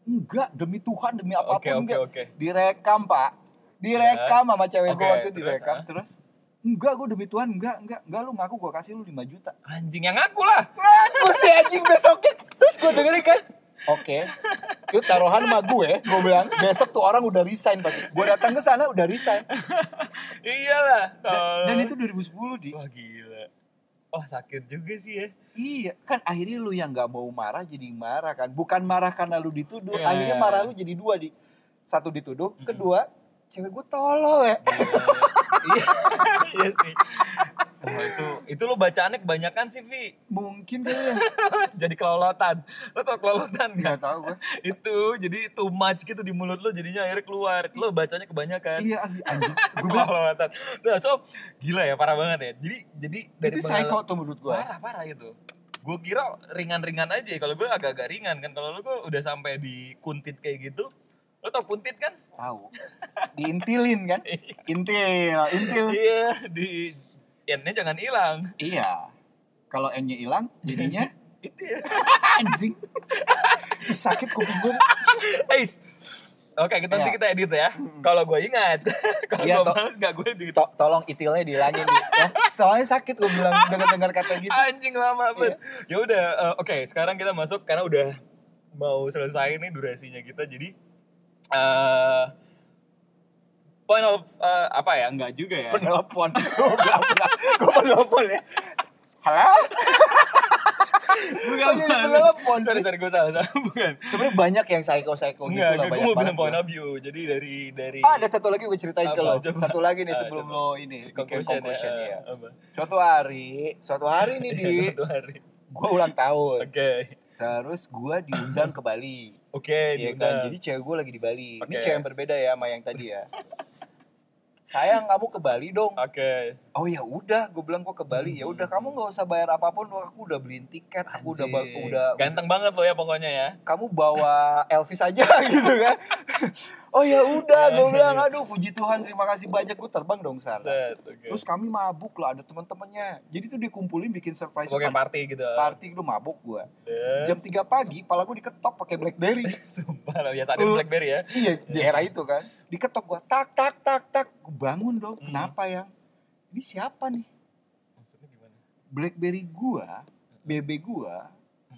Speaker 1: enggak demi Tuhan demi apapun
Speaker 2: Oke, oke,
Speaker 1: enggak
Speaker 2: oke.
Speaker 1: direkam pak direkam sama cewek
Speaker 2: Oke,
Speaker 1: gue waktu itu
Speaker 2: terus,
Speaker 1: direkam
Speaker 2: ah?
Speaker 1: terus enggak gue demi Tuhan enggak enggak enggak lu ngaku gue kasih lu 5 juta
Speaker 2: Anjing yang ngaku lah.
Speaker 1: ngaku si anjing besoknya terus gue dengerin kan oke itu taruhan sama gue gue bilang besok tuh orang udah resign pasti gue datang ke sana udah resign
Speaker 2: Iyalah.
Speaker 1: dan, dan
Speaker 2: tolong.
Speaker 1: itu 2010 di
Speaker 2: wah gila. Wah sakit juga sih ya.
Speaker 1: iya kan akhirnya lu yang nggak mau marah jadi marah kan bukan marah karena lu dituduh
Speaker 2: Ya.
Speaker 1: akhirnya marah lu jadi dua di satu dituduh kedua cewek gue tolol ya
Speaker 2: Iya, iya sih. Wah, itu itu lo bacaannya kebanyakan sih, Vi.
Speaker 1: mungkin kali ya
Speaker 2: Jadi kelolotan. Lo tau kelolotan nggak?
Speaker 1: nggak tahu gue
Speaker 2: itu jadi too much gitu di mulut lo jadinya akhirnya keluar. Lo bacanya kebanyakan.
Speaker 1: iya anjing gue bilang
Speaker 2: Kelolotan. Nah, so gila ya parah banget ya. Jadi jadi
Speaker 1: itu psycho
Speaker 2: pengalaman-
Speaker 1: tuh menurut ya." gue
Speaker 2: parah parah itu. Gue kira ringan-ringan aja. Kalau gue agak-agak ringan kan. Kalau lo gue udah sampai di kuntit kayak gitu. Lo tau kuntit kan?
Speaker 1: tahu diintilin kan intil intil
Speaker 2: Iya, di N-nya jangan hilang.
Speaker 1: Iya. Kalau N-nya hilang, jadinya
Speaker 2: Itu ya.
Speaker 1: anjing. Ih, Sakit kuping gue.
Speaker 2: Eis. Eh, Oke, kita nanti
Speaker 1: Iya.
Speaker 2: kita edit ya.
Speaker 1: Mm-mm.
Speaker 2: Kalau gue ingat, kalau
Speaker 1: Iya,
Speaker 2: gue
Speaker 1: toh.
Speaker 2: males nggak gue edit.
Speaker 1: To- tolong itilnya dihilangin. Di, ya. Soalnya sakit gue bilang dengar-dengar kata gitu.
Speaker 2: Anjing lama banget. Ya udah, eh, oke. sekarang kita masuk karena udah mau selesai nih durasinya kita. Jadi eh point of eh, apa ya? Enggak juga ya.
Speaker 1: Penelpon. Gue bilang penel- gue penelpon ya. Halo?
Speaker 2: Bukan.
Speaker 1: Kok jadi penelpon
Speaker 2: sorry,
Speaker 1: sih?
Speaker 2: sorry, gue salah, salah. Bukan.
Speaker 1: Sebenarnya banyak yang psycho-psycho gitu
Speaker 2: Enggak,
Speaker 1: lah.
Speaker 2: gue
Speaker 1: Banyak
Speaker 2: mau
Speaker 1: banget.
Speaker 2: bilang point of view. Jadi dari dari
Speaker 1: Ah, ada satu lagi gue ceritain ke
Speaker 2: Apa?
Speaker 1: lo.
Speaker 2: Coba.
Speaker 1: Satu lagi nih
Speaker 2: Ah,
Speaker 1: sebelum
Speaker 2: coba.
Speaker 1: lo ini bikin conclusion ya.
Speaker 2: eh, apa?
Speaker 1: Suatu hari, suatu hari nih di
Speaker 2: Satu hari.
Speaker 1: gue ulang tahun.
Speaker 2: Oke.
Speaker 1: Terus gue diundang ke Bali.
Speaker 2: Oke,
Speaker 1: Iya
Speaker 2: diundang.
Speaker 1: kan, jadi cewek gue lagi di Bali. Ini
Speaker 2: Oke.
Speaker 1: cewek yang berbeda ya sama yang tadi ya. Sayang kamu ke Bali dong.
Speaker 2: Oke.
Speaker 1: Oh ya udah, gue bilang gue ke Bali. Ya udah kamu nggak usah bayar apapun. Aku udah beliin tiket. Aku udah ba-
Speaker 2: Anjing.
Speaker 1: udah.
Speaker 2: ganteng banget lo ya pokoknya ya.
Speaker 1: Kamu bawa Elvis aja gitu kan. oh ya udah, gue
Speaker 2: Ya.
Speaker 1: bilang aduh puji Tuhan terima kasih banyak gue terbang dong sana.
Speaker 2: Set, oke.
Speaker 1: Terus kami mabuk lah ada teman-temannya. Jadi tuh dikumpulin bikin surprise
Speaker 2: Oke, party gitu.
Speaker 1: party lu mabuk gue.
Speaker 2: Terus,
Speaker 1: Jam 3 pagi, pala gue diketok pakai BlackBerry.
Speaker 2: Sumpah lo ya tadi
Speaker 1: Lu-
Speaker 2: BlackBerry ya.
Speaker 1: Iya, di era itu kan. Diketok gua tak tak tak tak. Gua bangun dong.
Speaker 2: Hmm.
Speaker 1: Kenapa yang? Ini siapa nih?
Speaker 2: Maksudnya gimana?
Speaker 1: BlackBerry gua, BB gua,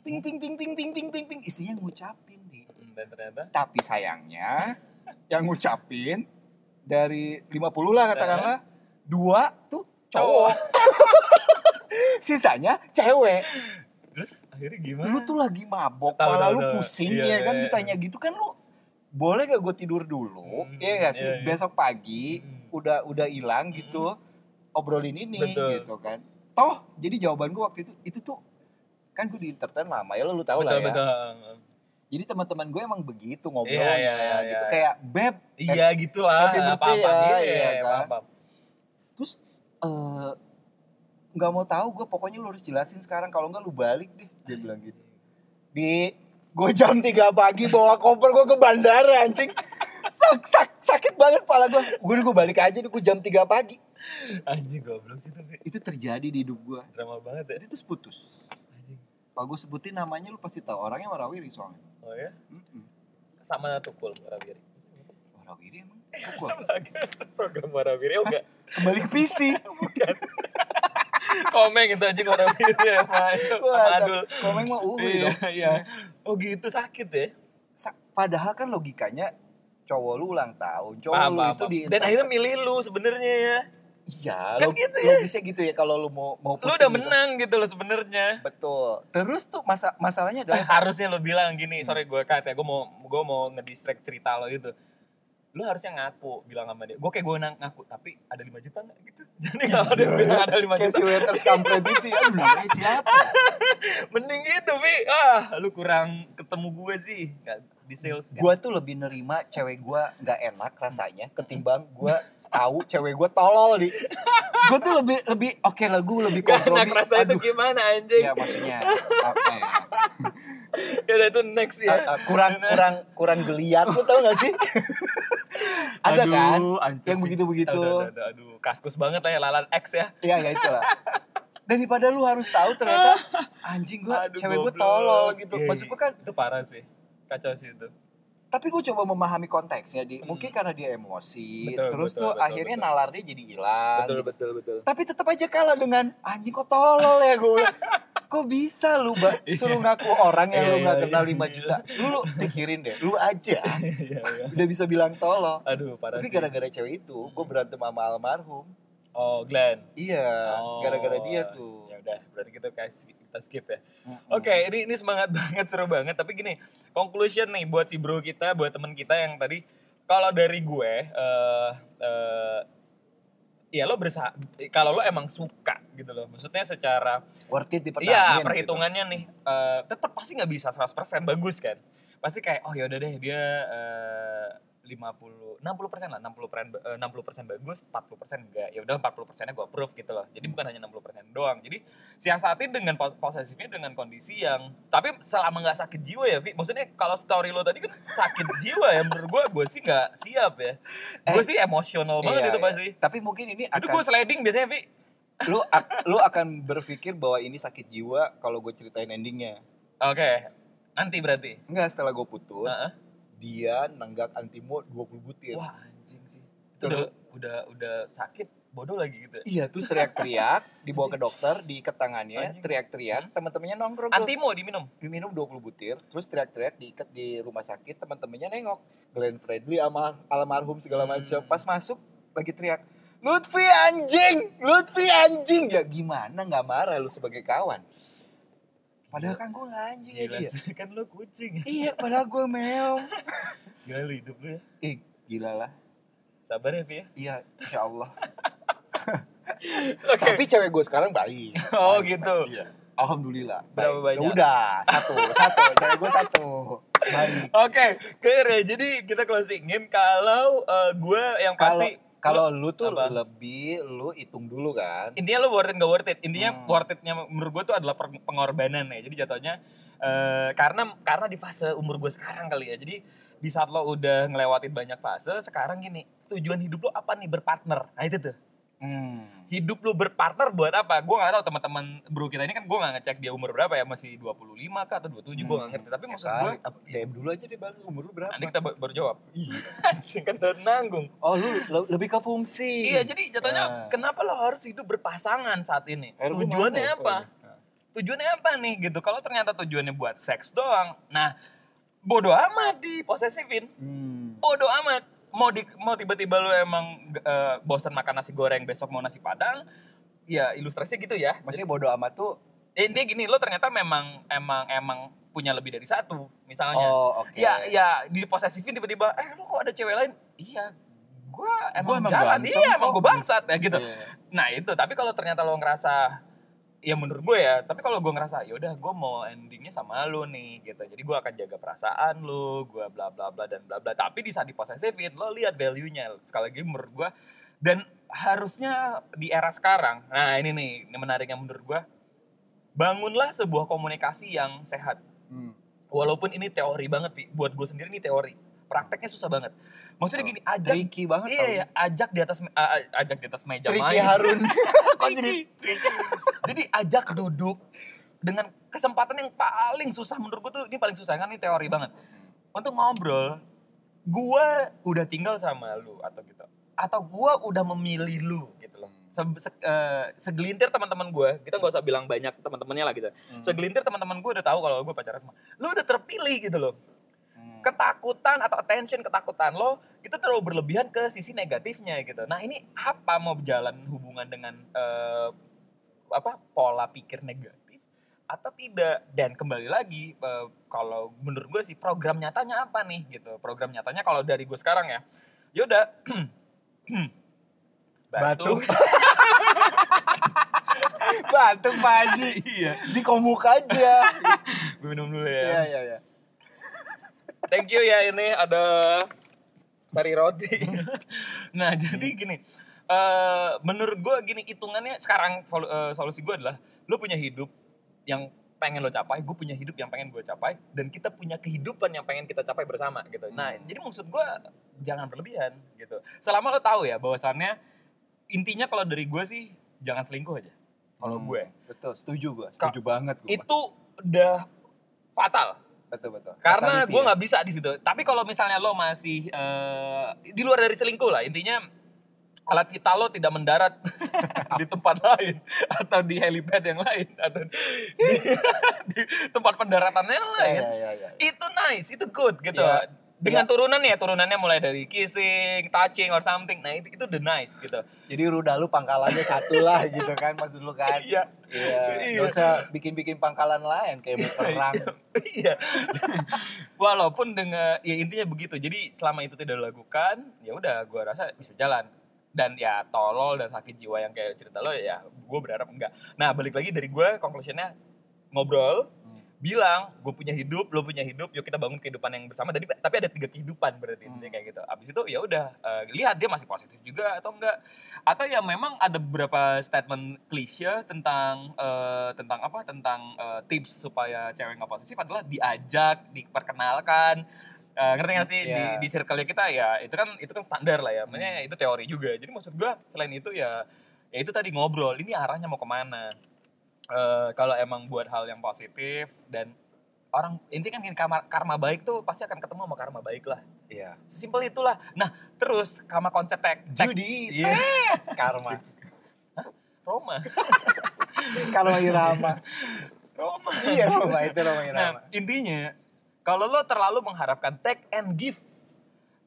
Speaker 1: ping ping ping ping ping ping ping ping isinya ngucapin nih.
Speaker 2: Mm, Dan ternyata
Speaker 1: Tapi sayangnya yang ngucapin dari 50 lah katakanlah dua tuh cowok. Sisanya cewek.
Speaker 2: Terus akhirnya gimana?
Speaker 1: Lu tuh lagi mabok,
Speaker 2: Nah. Tahu,
Speaker 1: malah
Speaker 2: tahu,
Speaker 1: lu
Speaker 2: tahu.
Speaker 1: pusing
Speaker 2: Iya,
Speaker 1: ya
Speaker 2: iya,
Speaker 1: kan
Speaker 2: iya.
Speaker 1: ditanya gitu kan lu boleh gak gue tidur dulu?
Speaker 2: Hmm,
Speaker 1: Iya gak sih?
Speaker 2: iya, iya.
Speaker 1: Besok pagi
Speaker 2: Mm.
Speaker 1: udah udah hilang gitu obrolin ini
Speaker 2: Betul.
Speaker 1: gitu kan toh jadi jawaban gue waktu itu itu tuh kan gue di entertain lama ya lo lu tau lah
Speaker 2: betul,
Speaker 1: ya
Speaker 2: betul.
Speaker 1: jadi teman-teman gue emang begitu ngobrolnya
Speaker 2: Iya, iya, iya,
Speaker 1: gitu
Speaker 2: iya.
Speaker 1: kayak beb
Speaker 2: Iya gitulah,
Speaker 1: happy
Speaker 2: apa
Speaker 1: birthday
Speaker 2: apa
Speaker 1: ya, iya kan?
Speaker 2: apa
Speaker 1: terus eh, nggak mau tahu gue pokoknya lu harus jelasin sekarang kalau nggak lu balik deh
Speaker 2: Hmm.
Speaker 1: dia bilang gitu di gue jam 3 pagi bawa koper gue ke bandara anjing sak, sak, sakit banget pala gue gue gue balik aja nih gue jam 3 pagi
Speaker 2: Anjing goblok sih tuh, Bi.
Speaker 1: itu terjadi di hidup gue
Speaker 2: drama banget ya.
Speaker 1: jadi terus putus
Speaker 2: Anjing.
Speaker 1: Kalau gue sebutin namanya lu pasti tahu orangnya Warawiri soalnya.
Speaker 2: Oh ya.
Speaker 1: Mm-mm.
Speaker 2: sama tukul warawiri
Speaker 1: Warawiri emang pukul.
Speaker 2: program warawiri oh enggak
Speaker 1: Kembali ke PC.
Speaker 2: komeng itu aja warawiri sama sama
Speaker 1: Wah,
Speaker 2: adul
Speaker 1: komeng mah uwi
Speaker 2: iya
Speaker 1: dong.
Speaker 2: iya oh gitu sakit ya
Speaker 1: Sa- Padahal kan logikanya cowok lu ulang tahun, cowok
Speaker 2: Paham,
Speaker 1: lu
Speaker 2: paham,
Speaker 1: itu
Speaker 2: paham.
Speaker 1: gitu di
Speaker 2: dan akhirnya milih lu sebenarnya ya
Speaker 1: iya,
Speaker 2: Kan
Speaker 1: log-
Speaker 2: gitu ya.
Speaker 1: logisnya gitu ya kalau lu mau mau
Speaker 2: lu
Speaker 1: pusing
Speaker 2: udah
Speaker 1: gitu.
Speaker 2: menang gitu loh sebenarnya
Speaker 1: Betul. Terus tuh masa masalahnya adalah
Speaker 2: harusnya lo bilang gini
Speaker 1: Hmm.
Speaker 2: sorry gue cut ya gue mau gue mau ngedistract cerita lo gitu lu harusnya ngaku bilang sama dia gue kayak gue ngaku tapi ada 5 juta nggak gitu jadi kalau dia bilang ada 5
Speaker 1: Iya, kayak
Speaker 2: juta
Speaker 1: si waiters kampret itu ya. Aduh, namanya siapa?
Speaker 2: mending gitu Vi ah lu kurang ketemu gue sih nggak di sales nggak.
Speaker 1: Gua tuh lebih nerima cewek gua nggak enak rasanya ketimbang gua tahu cewek gua tolol di. Gua tuh lebih lebih oke lah gua lebih
Speaker 2: Gak
Speaker 1: kompromi.
Speaker 2: enak rasanya
Speaker 1: Aduh,
Speaker 2: tuh gitu, gimana anjing
Speaker 1: ya maksudnya apa ya?
Speaker 2: ya udah itu next ya
Speaker 1: Uh, uh, kurang kurang kurang geliat lu tau gak sih? Ada
Speaker 2: Aduh,
Speaker 1: kan
Speaker 2: anjing
Speaker 1: yang
Speaker 2: sih.
Speaker 1: begitu-begitu.
Speaker 2: Aduh, aduh, aduh, aduh. kaskus banget lah ya lalan X ya
Speaker 1: Iya ya itulah. Daripada lu harus tahu ternyata anjing gua
Speaker 2: Aduh,
Speaker 1: cewek gua
Speaker 2: goblok.
Speaker 1: tolol gitu.
Speaker 2: Iya,
Speaker 1: Maksud
Speaker 2: iya.
Speaker 1: gua kan
Speaker 2: itu parah sih kacau sih itu
Speaker 1: tapi gue coba memahami konteksnya di
Speaker 2: Hmm.
Speaker 1: mungkin karena dia emosi
Speaker 2: Betul,
Speaker 1: terus
Speaker 2: betul,
Speaker 1: tuh
Speaker 2: betul,
Speaker 1: akhirnya
Speaker 2: betul.
Speaker 1: nalar dia jadi hilang
Speaker 2: betul
Speaker 1: gitu.
Speaker 2: betul betul
Speaker 1: tapi tetap aja kalah dengan anjing kok tolol ya gue bilang. kok bisa lu ba-
Speaker 2: Iya.
Speaker 1: suruh ngaku orang yang
Speaker 2: Iya,
Speaker 1: lu nggak
Speaker 2: iya,
Speaker 1: kenal
Speaker 2: iya,
Speaker 1: 5 juta lu, lu pikirin deh lu aja
Speaker 2: Iya, iya.
Speaker 1: udah bisa bilang tolol
Speaker 2: aduh parah
Speaker 1: tapi
Speaker 2: sih.
Speaker 1: gara-gara cewek itu gue berantem sama almarhum
Speaker 2: Oh, Glenn.
Speaker 1: iya
Speaker 2: Oh.
Speaker 1: gara-gara dia tuh Hmm.
Speaker 2: Ya udah, berarti kita kasih kita skip ya.
Speaker 1: Mm-mm.
Speaker 2: Oke, ini ini semangat banget, seru banget. Tapi gini, conclusion nih buat si bro kita, buat teman kita yang tadi kalau dari gue eh eh, ya lo bersa kalau lo emang suka gitu loh. Maksudnya secara
Speaker 1: worth it dipertahankan
Speaker 2: Iya,
Speaker 1: gitu.
Speaker 2: perhitungannya nih eh, tetap pasti nggak bisa 100% bagus kan. Pasti kayak oh yaudah deh dia eh, 50 60% lah, 60 eh, 60% bagus, 40% enggak. Ya udah 40%-nya gua approve gitu loh.
Speaker 1: Hmm.
Speaker 2: Jadi bukan hanya 60% doang. Jadi siasati dengan pos- posesifnya dengan kondisi yang tapi selama nggak sakit jiwa ya, Vi. Maksudnya kalau story lo tadi kan sakit jiwa ya menurut gua, gua sih nggak siap ya. Gue sih emosional banget
Speaker 1: Eh, Iya,
Speaker 2: itu
Speaker 1: iya.
Speaker 2: pasti.
Speaker 1: tapi mungkin ini
Speaker 2: Itu
Speaker 1: akan
Speaker 2: gue sliding biasanya, Vi.
Speaker 1: lu ak- lu akan berpikir bahwa ini sakit jiwa kalau gue ceritain endingnya
Speaker 2: Oke. Nanti berarti.
Speaker 1: enggak setelah gue putus
Speaker 2: Heeh.
Speaker 1: dia nenggak antimo 20 butir
Speaker 2: Wah anjing sih. Itu
Speaker 1: Betul.
Speaker 2: udah, udah udah sakit bodoh lagi gitu. ya.
Speaker 1: iya terus teriak-teriak dibawa ke dokter diikat tangannya
Speaker 2: Anjing.
Speaker 1: teriak-teriak teman-temannya nongkrong tuh.
Speaker 2: Antimo diminum.
Speaker 1: diminum 20 butir terus teriak-teriak diikat di rumah sakit teman-temannya nengok Glenn Fredly sama almarhum segala macam
Speaker 2: Hmm.
Speaker 1: pas masuk lagi teriak Lutfi anjing, Lutfi anjing. Ya gimana nggak marah lu sebagai kawan? Padahal kan gue anjing ya
Speaker 2: Gila
Speaker 1: dia.
Speaker 2: sih, kan lo kucing. ya.
Speaker 1: Iya, padahal gue meong.
Speaker 2: Gila lu hidup lu ya.
Speaker 1: Ih, gila lah.
Speaker 2: Sabar ya, Vi ya.
Speaker 1: Iya, insya Allah.
Speaker 2: Oke.
Speaker 1: Tapi cewek gue sekarang baik.
Speaker 2: Oh
Speaker 1: Baik,
Speaker 2: gitu.
Speaker 1: baik. Iya. Alhamdulillah.
Speaker 2: Berapa
Speaker 1: baik.
Speaker 2: banyak?
Speaker 1: Ya udah, satu, satu. cewek gue satu. Baik.
Speaker 2: Oke, clear ya. Jadi kita closingin kalau eh, gue yang
Speaker 1: Kalau
Speaker 2: pasti
Speaker 1: kalau lu tuh
Speaker 2: apa?
Speaker 1: lebih lu hitung dulu kan.
Speaker 2: intinya lo worth it gak worth it intinya
Speaker 1: Hmm.
Speaker 2: worth itnya menurut gue tuh adalah per- pengorbanan ya jadi jatuhnya eh, karena karena di fase umur gue sekarang kali ya jadi di saat lo udah ngelewatin banyak fase sekarang gini tujuan hidup lo apa nih berpartner nah itu tuh
Speaker 1: Hmm.
Speaker 2: hidup lo berpartner buat apa gue nggak tahu teman-teman bro kita ini kan gue nggak ngecek dia umur berapa ya masih 25 kah atau 27 gue nggak ngerti tapi
Speaker 1: Ya
Speaker 2: maksud gue
Speaker 1: kali, apa- Iya. DM dulu aja deh balas umur lu berapa.
Speaker 2: nanti kita ba- baru jawab anjing kan udah nanggung
Speaker 1: Oh, lu le- lebih ke fungsi.
Speaker 2: iya jadi
Speaker 1: Ah.
Speaker 2: jatuhnya kenapa lo harus hidup berpasangan saat ini
Speaker 1: Eh, lu iya.
Speaker 2: tujuannya
Speaker 1: mabuk.
Speaker 2: apa tujuannya apa nih gitu kalau ternyata tujuannya buat seks doang nah bodoh amat di posesifin
Speaker 1: Hmm.
Speaker 2: bodoh amat mau di, mau tiba-tiba lu emang eh, bosan makan nasi goreng besok mau nasi padang ya ilustrasinya gitu ya
Speaker 1: Maksudnya bodo amat tuh.
Speaker 2: Ya, intinya gini lo ternyata memang emang emang punya lebih dari satu misalnya
Speaker 1: Oh, oke.
Speaker 2: ya ya di posesifin tiba-tiba eh lu kok ada cewek lain iya gua emang,
Speaker 1: emang
Speaker 2: jalan
Speaker 1: ganteng
Speaker 2: iya emang
Speaker 1: kok.
Speaker 2: gue bangsat ya gitu
Speaker 1: Iya.
Speaker 2: Nah itu, tapi kalau ternyata lo ngerasa ya menurut gue ya, tapi kalau gue ngerasa ya udah gue mau endingnya sama lo nih gitu. Jadi gue akan jaga perasaan lo, gue bla bla bla dan bla bla. Tapi di saat diposesifin lo lihat value-nya. Sekali lagi menurut gue dan harusnya di era sekarang. Nah, ini nih ini menariknya menurut gue. Bangunlah sebuah komunikasi yang sehat.
Speaker 1: Hmm.
Speaker 2: Walaupun ini teori banget, Pi. buat gue sendiri ini teori. Prakteknya susah banget.
Speaker 1: Oh.
Speaker 2: Maksudnya gini, ajak
Speaker 1: Tricky banget
Speaker 2: Iya, iya, ajak di atas me- a- a- ajak di atas meja
Speaker 1: Tricky
Speaker 2: main.
Speaker 1: Harun. Kok
Speaker 2: Tricky.
Speaker 1: jadi
Speaker 2: Jadi ajak duduk dengan kesempatan yang paling susah menurut gue tuh ini paling susah kan ini teori banget. untuk ngobrol gua udah tinggal sama lu atau gitu atau gua udah memilih lu gitu loh Se se- eh, segelintir teman-teman gua kita nggak usah bilang banyak teman-temannya lah gitu
Speaker 1: Hmm.
Speaker 2: segelintir teman-teman gua udah tahu kalau gua pacaran sama lu udah terpilih gitu loh
Speaker 1: Hmm.
Speaker 2: ketakutan atau attention ketakutan lo itu terlalu berlebihan ke sisi negatifnya gitu. Nah ini apa mau berjalan hubungan dengan eh, apa pola pikir negatif atau tidak? Dan kembali lagi eh, kalau menurut gue sih program nyatanya apa nih gitu. Program nyatanya kalau dari gue sekarang ya, yaudah
Speaker 4: Batuk. Batuk Pak Haji.
Speaker 2: iya,
Speaker 4: Di komuk aja.
Speaker 2: gue minum dulu ya.
Speaker 4: Iya, iya, iya.
Speaker 2: Thank you ya ini ada sari roti. nah jadi gini, eh menurut gue gini hitungannya sekarang vol- eh, solusi gue adalah lo punya hidup yang pengen lo capai, gue punya hidup yang pengen gue capai, dan kita punya kehidupan yang pengen kita capai bersama gitu. Nah
Speaker 1: Hmm.
Speaker 2: jadi maksud gue jangan berlebihan gitu. Selama lo tahu ya bahwasannya intinya kalau dari gue sih jangan selingkuh aja. Kalau
Speaker 1: Hmm.
Speaker 2: gue
Speaker 1: Betul, setuju gue. Setuju banget gue.
Speaker 2: itu udah fatal
Speaker 1: Betul, betul.
Speaker 2: karena
Speaker 1: Fatality
Speaker 2: gue
Speaker 1: ya.
Speaker 2: nggak bisa di situ tapi kalau misalnya lo masih eh, di luar dari selingkuh lah intinya alat vital lo tidak mendarat di tempat lain atau di helipad yang lain atau di, di tempat pendaratannya yang lain
Speaker 1: Iya, iya, iya.
Speaker 2: itu nice itu good gitu
Speaker 1: Iya.
Speaker 2: dengan turunan ya turunannya mulai dari kissing touching or something nah itu itu the nice gitu
Speaker 1: Jadi ruda lu pangkalannya satu lah gitu kan maksud lu kan.
Speaker 2: iya
Speaker 1: Iya.
Speaker 2: Iya.
Speaker 1: Gak usah bikin-bikin pangkalan lain kayak mau perang.
Speaker 2: iya. Walaupun dengan ya intinya begitu. Jadi selama itu tidak dilakukan, ya udah gua rasa bisa jalan. Dan ya tolol dan sakit jiwa yang kayak cerita lo ya gue berharap enggak. Nah, balik lagi dari gue conclusionnya ngobrol
Speaker 1: Hmm.
Speaker 2: bilang gue punya hidup lo punya hidup yuk kita bangun kehidupan yang bersama tapi tapi ada tiga kehidupan berarti intinya
Speaker 1: Hmm.
Speaker 2: kayak gitu abis itu ya udah eh, lihat dia masih positif juga atau enggak atau ya memang ada beberapa statement klise tentang eh, tentang apa tentang eh, tips supaya cewek nggak posesif adalah diajak diperkenalkan Eh, ngerti nggak sih di
Speaker 1: Iya.
Speaker 2: di circle kita ya itu kan itu kan standar lah ya makanya itu teori juga jadi maksud gua selain itu ya ya itu tadi ngobrol ini arahnya mau kemana Eh, kalau emang buat hal yang positif dan orang inti kan gini, karma, karma baik tuh pasti akan ketemu sama karma baik lah
Speaker 1: Iya.
Speaker 2: sesimpel itulah nah terus sama konsep tek, tek
Speaker 1: Judi
Speaker 2: Iya.
Speaker 1: karma.
Speaker 2: Roma
Speaker 1: Kalau irama.
Speaker 2: Roma
Speaker 1: Iya, Roma itu Roma irama.
Speaker 2: nah intinya kalau lo terlalu mengharapkan take and give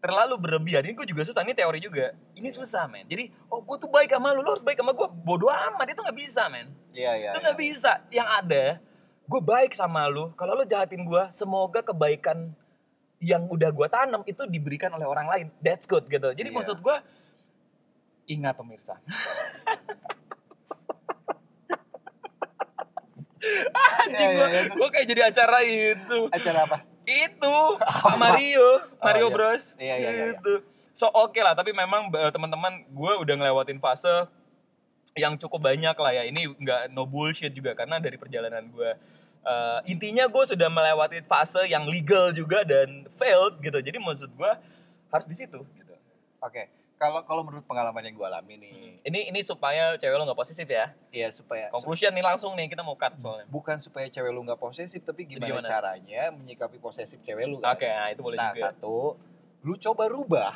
Speaker 2: terlalu berlebihan ini gue juga susah ini teori juga ini susah men jadi oh gue tuh baik sama lo lo harus baik sama gue bodoh amat itu nggak bisa men
Speaker 1: Iya, iya.
Speaker 2: itu nggak bisa yang ada gue baik sama lu kalau lu jahatin gue semoga kebaikan yang udah gue tanam itu diberikan oleh orang lain that's good gitu jadi
Speaker 1: Iya.
Speaker 2: maksud gue ingat pemirsa anjing
Speaker 1: Iya, iya,
Speaker 2: gue
Speaker 1: iya.
Speaker 2: kayak jadi acara itu
Speaker 1: Acara apa?
Speaker 2: itu Pak Mario Mario
Speaker 1: iya.
Speaker 2: Bros
Speaker 1: Iya, iya, iya, iya.
Speaker 2: gitu so oke lah tapi memang eh, teman-teman gue udah ngelewatin fase yang cukup banyak lah ya ini nggak no bullshit juga karena dari perjalanan gue eh, intinya gue sudah melewati fase yang legal juga dan failed gitu jadi maksud gue harus di situ gitu
Speaker 1: Oke. Kalau kalau menurut pengalaman yang gue alami nih,
Speaker 2: ini ini supaya cewek lo nggak posesif ya
Speaker 1: ya supaya
Speaker 2: conclusion nih langsung nih kita mau cut soalnya
Speaker 1: bukan supaya cewek lu nggak posesif, tapi gimana,
Speaker 2: Gimana?
Speaker 1: caranya menyikapi posesif cewek lu kan?
Speaker 2: oke nah, itu boleh
Speaker 1: Nah,
Speaker 2: juga
Speaker 1: satu, lu coba rubah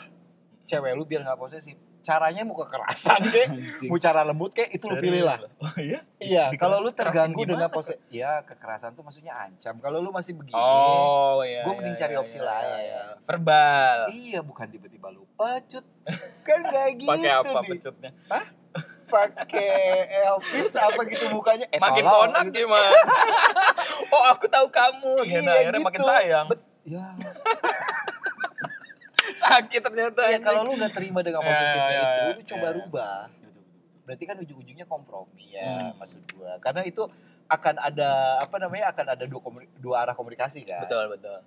Speaker 1: cewek lu biar nggak posesif. Caranya mau kekerasan kek, mau cara lembut kek, itu lu
Speaker 2: Serius
Speaker 1: pilih lah.
Speaker 2: lo. oh iya
Speaker 1: Iya,
Speaker 2: Dikeras-
Speaker 1: kalau lu
Speaker 2: kerasin
Speaker 1: terganggu
Speaker 2: gimana?
Speaker 1: dengan posesif, ya kekerasan tuh maksudnya ancam. Kalau lu masih begini,
Speaker 2: Oh iya.
Speaker 1: Gua mending cari opsi lain.
Speaker 2: Verbal.
Speaker 1: iya bukan tiba-tiba lu pecut. Kan nggak gitu.
Speaker 2: Pakai apa
Speaker 1: Di.
Speaker 2: pecutnya?
Speaker 1: Pakai Elvis apa gitu mukanya. Eh,
Speaker 2: makin
Speaker 1: tolong,
Speaker 2: konak
Speaker 1: gitu.
Speaker 2: gimana? oh aku tahu kamu.
Speaker 1: Iya,
Speaker 2: Ternyata akhirnya makin
Speaker 1: gitu.
Speaker 2: sayang.
Speaker 1: Bet- Ya,
Speaker 2: Sakit ternyata.
Speaker 1: ya
Speaker 2: anjing.
Speaker 1: kalau lu nggak terima dengan
Speaker 2: Ya,
Speaker 1: posesifnya
Speaker 2: ya,
Speaker 1: itu,
Speaker 2: ya,
Speaker 1: lu coba
Speaker 2: ya.
Speaker 1: rubah. berarti kan ujung-ujungnya kompromi ya
Speaker 2: Hmm.
Speaker 1: maksud gua karena itu akan ada apa namanya akan ada dua komuni- dua arah komunikasi kan
Speaker 2: Betul betul.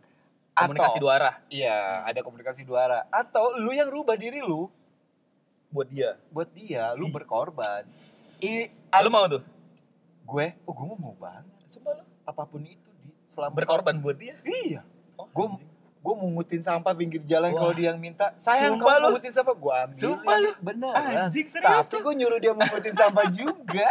Speaker 1: atau
Speaker 2: Komunikasi dua Hmm. arah
Speaker 1: iya ada komunikasi dua arah atau lu yang rubah diri lu
Speaker 2: buat dia.
Speaker 1: buat dia lu
Speaker 2: Ih.
Speaker 1: berkorban i
Speaker 2: Lu mau tuh?
Speaker 1: gue oh gue mau banget
Speaker 2: Sumpah lu
Speaker 1: apapun itu di selama
Speaker 2: berkorban buat dia.
Speaker 1: iya
Speaker 2: Oh,
Speaker 1: Gua-
Speaker 2: anjing.
Speaker 1: gue mungutin sampah pinggir jalan
Speaker 2: Wah.
Speaker 1: kalau dia yang minta sayang
Speaker 2: Sumpah lu.
Speaker 1: kamu mungutin sampah gue ambil
Speaker 2: Sumpah lu.
Speaker 1: beneran
Speaker 2: anjing serius.
Speaker 1: tapi gue nyuruh dia mungutin sampah juga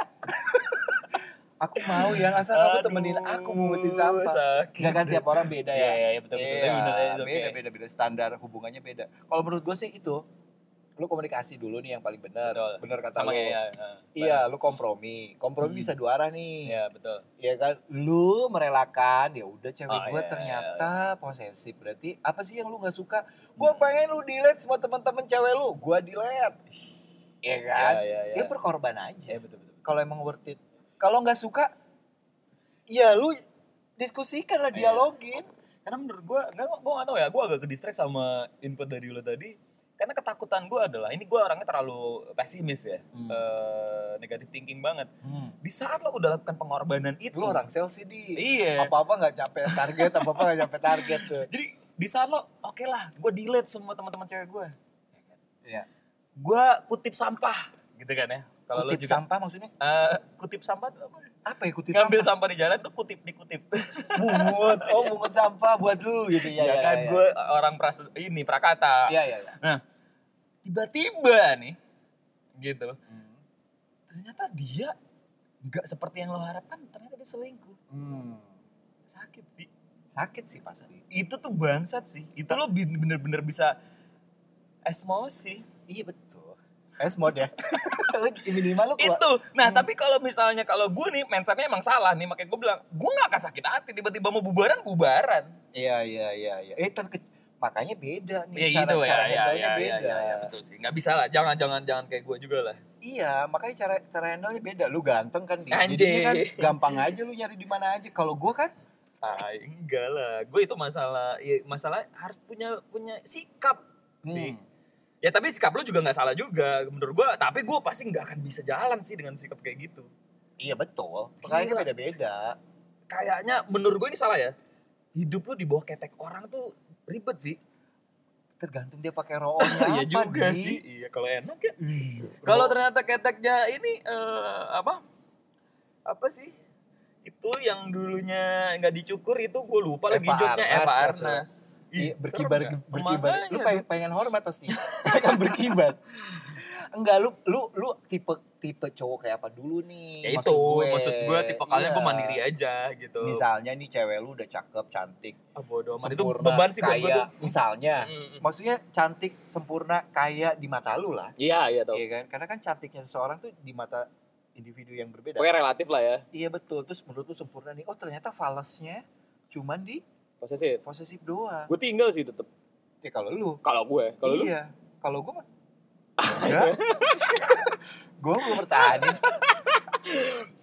Speaker 1: aku mau yang asal aku temenin
Speaker 2: Aduh,
Speaker 1: aku mengutin sampah
Speaker 2: sakit.
Speaker 1: Enggak kan tiap orang beda
Speaker 2: Iya,
Speaker 1: ya
Speaker 2: iya, iya, betul betul. Tapi bener,
Speaker 1: Iya,
Speaker 2: it's okay.
Speaker 1: beda beda beda standar hubungannya beda kalau menurut gue sih itu lu komunikasi dulu nih yang paling benar
Speaker 2: Betul.
Speaker 1: benar kata lu
Speaker 2: Sama kayak ya.
Speaker 1: iya lu kompromi kompromi
Speaker 2: Hmm.
Speaker 1: bisa dua arah nih
Speaker 2: Iya, betul.
Speaker 1: Iya kan lu merelakan ya udah cewek
Speaker 2: Oh,
Speaker 1: gue
Speaker 2: iya,
Speaker 1: ternyata posesif berarti apa sih yang lu nggak suka gue
Speaker 2: Hmm.
Speaker 1: pengen lu delete semua teman-teman cewek lu gue delete Iya kan
Speaker 2: Iya, iya,
Speaker 1: dia berkorban aja
Speaker 2: Iya, betul betul.
Speaker 1: kalau emang worth it. Kalau nggak suka, ya lu diskusikan lah,
Speaker 2: Iya.
Speaker 1: dialogin.
Speaker 2: Karena menurut gua enggak gua enggak tahu ya, gua agak ke distract sama input dari lo tadi. Karena ketakutan gua adalah ini gua orangnya terlalu pesimis ya. Eh, negative thinking banget.
Speaker 1: Hmm.
Speaker 2: Di saat lo udah lakukan pengorbanan itu,
Speaker 1: Lu orang sales sih di.
Speaker 2: Hmm. iya.
Speaker 1: Apa-apa nggak capek target, apa-apa nggak capek target tuh.
Speaker 2: Jadi di saat lo, oke lah, gue delete semua teman-teman cewek gue.
Speaker 1: Iya.
Speaker 2: Gue kutip sampah, gitu kan ya. Kalau lo
Speaker 1: Kutip
Speaker 2: juga
Speaker 1: sampah maksudnya
Speaker 2: eh, kutip sampah tuh apa?
Speaker 1: apa ya kutip
Speaker 2: Ngambil sampah. di jalan tuh kutip dikutip.
Speaker 1: sampah? Mungut, oh mungut sampah buat lu gitu ya.
Speaker 2: ya, kan gue orang pras ini prakata.
Speaker 1: Iya iya. iya.
Speaker 2: Tiba-tiba nih, gitu.
Speaker 1: Hmm.
Speaker 2: Ternyata dia nggak seperti yang lo harapkan. Ternyata dia selingkuh,
Speaker 1: Hmm.
Speaker 2: sakit. Di.
Speaker 1: Sakit sih pasti.
Speaker 2: Itu tuh bangsat sih. Itu lo bin- bener-bener bisa esmosi.
Speaker 1: Iya betul. Es mode ya. Lu minimal lu keluar.
Speaker 2: itu nah
Speaker 1: Hmm.
Speaker 2: tapi kalau misalnya kalau gue nih mindsetnya emang salah nih makanya gue bilang gue nggak akan sakit hati tiba-tiba mau bubaran bubaran
Speaker 1: Iya iya iya iya. Eh terke- makanya beda nih
Speaker 2: ya
Speaker 1: cara
Speaker 2: gitu ya
Speaker 1: cara
Speaker 2: ya ya,
Speaker 1: handle-nya
Speaker 2: ya,
Speaker 1: beda.
Speaker 2: ya, ya, betul sih nggak bisa lah jangan jangan jangan kayak gue juga lah
Speaker 1: Iya, makanya cara cara handle beda. Lu ganteng kan, Di.
Speaker 2: Anjing.
Speaker 1: jadinya kan gampang aja lu nyari di mana aja. Kalau gua kan,
Speaker 2: ah enggak lah gue itu masalah ya, masalah harus punya punya sikap
Speaker 1: hmm,
Speaker 2: ya tapi sikap lo juga nggak salah juga menurut gue tapi gue pasti nggak akan bisa jalan sih dengan sikap kayak gitu
Speaker 1: iya betul. Makanya kan
Speaker 2: Gila.
Speaker 1: beda-beda.
Speaker 2: kayaknya menurut gue ini salah ya hidup lo di bawah ketek orang tuh ribet Vi
Speaker 1: Tergantung dia pakai rollnya apa,
Speaker 2: Iya juga
Speaker 1: Di.
Speaker 2: sih iya kalau enak ya
Speaker 1: Ih,
Speaker 2: Kalau
Speaker 1: roll-
Speaker 2: ternyata keteknya ini eh, apa? Apa sih? Itu yang dulunya nggak dicukur itu gue lupa lagi
Speaker 1: Eva
Speaker 2: Nah, joknya
Speaker 1: Arnas,
Speaker 2: Eva
Speaker 1: ya,
Speaker 2: Arnas.
Speaker 1: Iya, berkibar berkibar. Lu
Speaker 2: Lu
Speaker 1: pengen, pengen hormat pasti. kan berkibar. Enggak lu lu lu tipe tipe cowok kayak apa dulu nih?
Speaker 2: ya itu maksud gue tipe
Speaker 1: Iya.
Speaker 2: kalian gue mandiri aja gitu.
Speaker 1: Misalnya nih cewek lu udah cakep, cantik,
Speaker 2: Ah, bodo amat. itu
Speaker 1: sempurna,
Speaker 2: beban sih buat gue
Speaker 1: kaya.
Speaker 2: tuh.
Speaker 1: Misalnya,
Speaker 2: Mm-mm.
Speaker 1: maksudnya cantik, sempurna, kaya di mata lu lah.
Speaker 2: Iya, iya tau.
Speaker 1: Iya kan? Karena kan cantiknya seseorang tuh di mata individu yang berbeda.
Speaker 2: Pokoknya relatif lah ya.
Speaker 1: Iya betul. Terus menurut lu sempurna nih. Oh ternyata falasnya cuman di
Speaker 2: Posesif.
Speaker 1: posesif doang.
Speaker 2: Gue tinggal sih tetep.
Speaker 1: Ya kalau lu.
Speaker 2: Kalau gue, kalau lu
Speaker 1: iya. Kalau gue mah. Enggak. gue belum bertahan.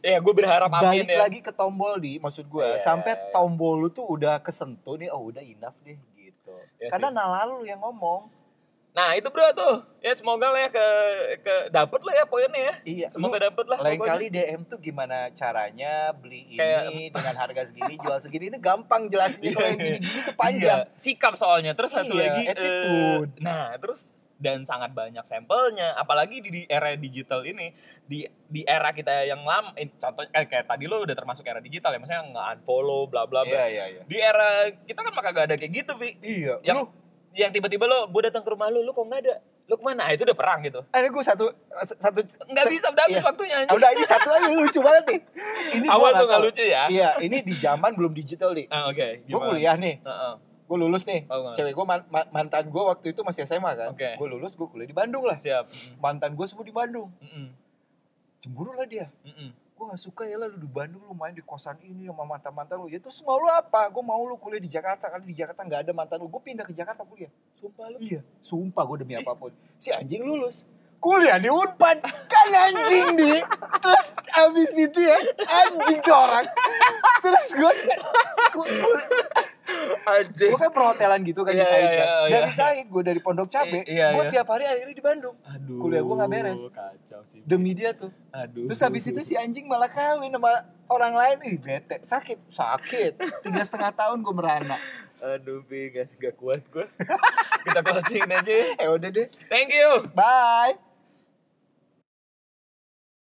Speaker 2: ya gue berharap amin
Speaker 1: Balik
Speaker 2: ya.
Speaker 1: lagi ke tombol di. Maksud gue.
Speaker 2: Iya, iya,
Speaker 1: sampai
Speaker 2: iya.
Speaker 1: tombol lu tuh udah kesentuh nih. Oh udah enough deh gitu.
Speaker 2: Iya
Speaker 1: Karena
Speaker 2: sih.
Speaker 1: nalar lu yang ngomong.
Speaker 2: Nah, itu bro tuh. Ya semoga lah ya ke ke dapet lah ya poinnya ya.
Speaker 1: Iya.
Speaker 2: Semoga
Speaker 1: lu
Speaker 2: dapet lah.
Speaker 1: lain
Speaker 2: pokoknya.
Speaker 1: kali DM tuh gimana caranya beli ini
Speaker 2: Kayak-
Speaker 1: dengan harga segini jual segini itu gampang jelasinnya kalau yang
Speaker 2: Iya, iya.
Speaker 1: gini-gini tuh panjang.
Speaker 2: Iya, sikap soalnya. Terus satu
Speaker 1: Iya,
Speaker 2: lagi eh,
Speaker 1: attitude.
Speaker 2: nah, terus dan sangat banyak sampelnya apalagi di, di era digital ini di di era kita yang lama eh, contoh eh, kayak tadi lo udah termasuk era digital ya maksudnya nge unfollow bla bla bla
Speaker 1: Iya iya iya.
Speaker 2: di era kita kan maka gak ada kayak gitu Vi
Speaker 1: Iya. lu,
Speaker 2: Yang- yang tiba-tiba lo gue datang ke rumah lo lo kok nggak ada lo kemana ah, itu udah perang gitu
Speaker 1: ada gue eh, satu satu.
Speaker 2: nggak bisa udah habis
Speaker 1: Iya.
Speaker 2: waktunya anjing.
Speaker 1: Udah ini satu aja lucu banget nih. Ini gua
Speaker 2: awal tuh nggak
Speaker 1: tahu.
Speaker 2: lucu ya
Speaker 1: Iya, ini di zaman belum digital nih.
Speaker 2: ah, oke
Speaker 1: Gue
Speaker 2: gimana
Speaker 1: kuliah nih,
Speaker 2: Heeh.
Speaker 1: gue lulus nih.
Speaker 2: Oh, nggak.
Speaker 1: Cewek gue mantan gue waktu itu masih SMA kan.
Speaker 2: Oke.
Speaker 1: Gue lulus, gue kuliah di Bandung lah.
Speaker 2: siap
Speaker 1: Mantan gue semua di Bandung.
Speaker 2: Mm-mm.
Speaker 1: Cemburu lah dia.
Speaker 2: Mm-mm.
Speaker 1: Gue gak suka ya lah lu di Bandung lu main di kosan ini sama mantan-mantan lu. Ya terus mau lu apa? Gue mau lu kuliah di Jakarta. Karena di Jakarta gak ada mantan lu. Gue pindah ke Jakarta kuliah.
Speaker 2: sumpah lo
Speaker 1: Iya, sumpah gue demi apapun. Si anjing lulus. Kuliah di Unpad. Kan anjing di. Terus abis itu ya, anjing tuh orang. Terus gue,
Speaker 2: anjing
Speaker 1: gue kan perhotelan gitu kan di
Speaker 2: Iya,
Speaker 1: Said
Speaker 2: iya,
Speaker 1: kan.
Speaker 2: iya.
Speaker 1: Dari Said, gue dari Pondok Cabe.
Speaker 2: I- iya,
Speaker 1: gue
Speaker 2: iya.
Speaker 1: tiap hari akhirnya di Bandung.
Speaker 2: Aduh.
Speaker 1: Kuliah gua nggak beres.
Speaker 2: Kacau sih.
Speaker 1: Demi dia tuh.
Speaker 2: Aduh.
Speaker 1: Terus habis itu si anjing malah kawin sama orang lain. Ih bete, sakit. Sakit. Tiga setengah tahun gue merana.
Speaker 2: Aduh, Pi, gak, gak kuat gue. Kita closing aja
Speaker 1: Eh
Speaker 2: ya.
Speaker 1: udah deh,
Speaker 2: Thank you.
Speaker 1: bye.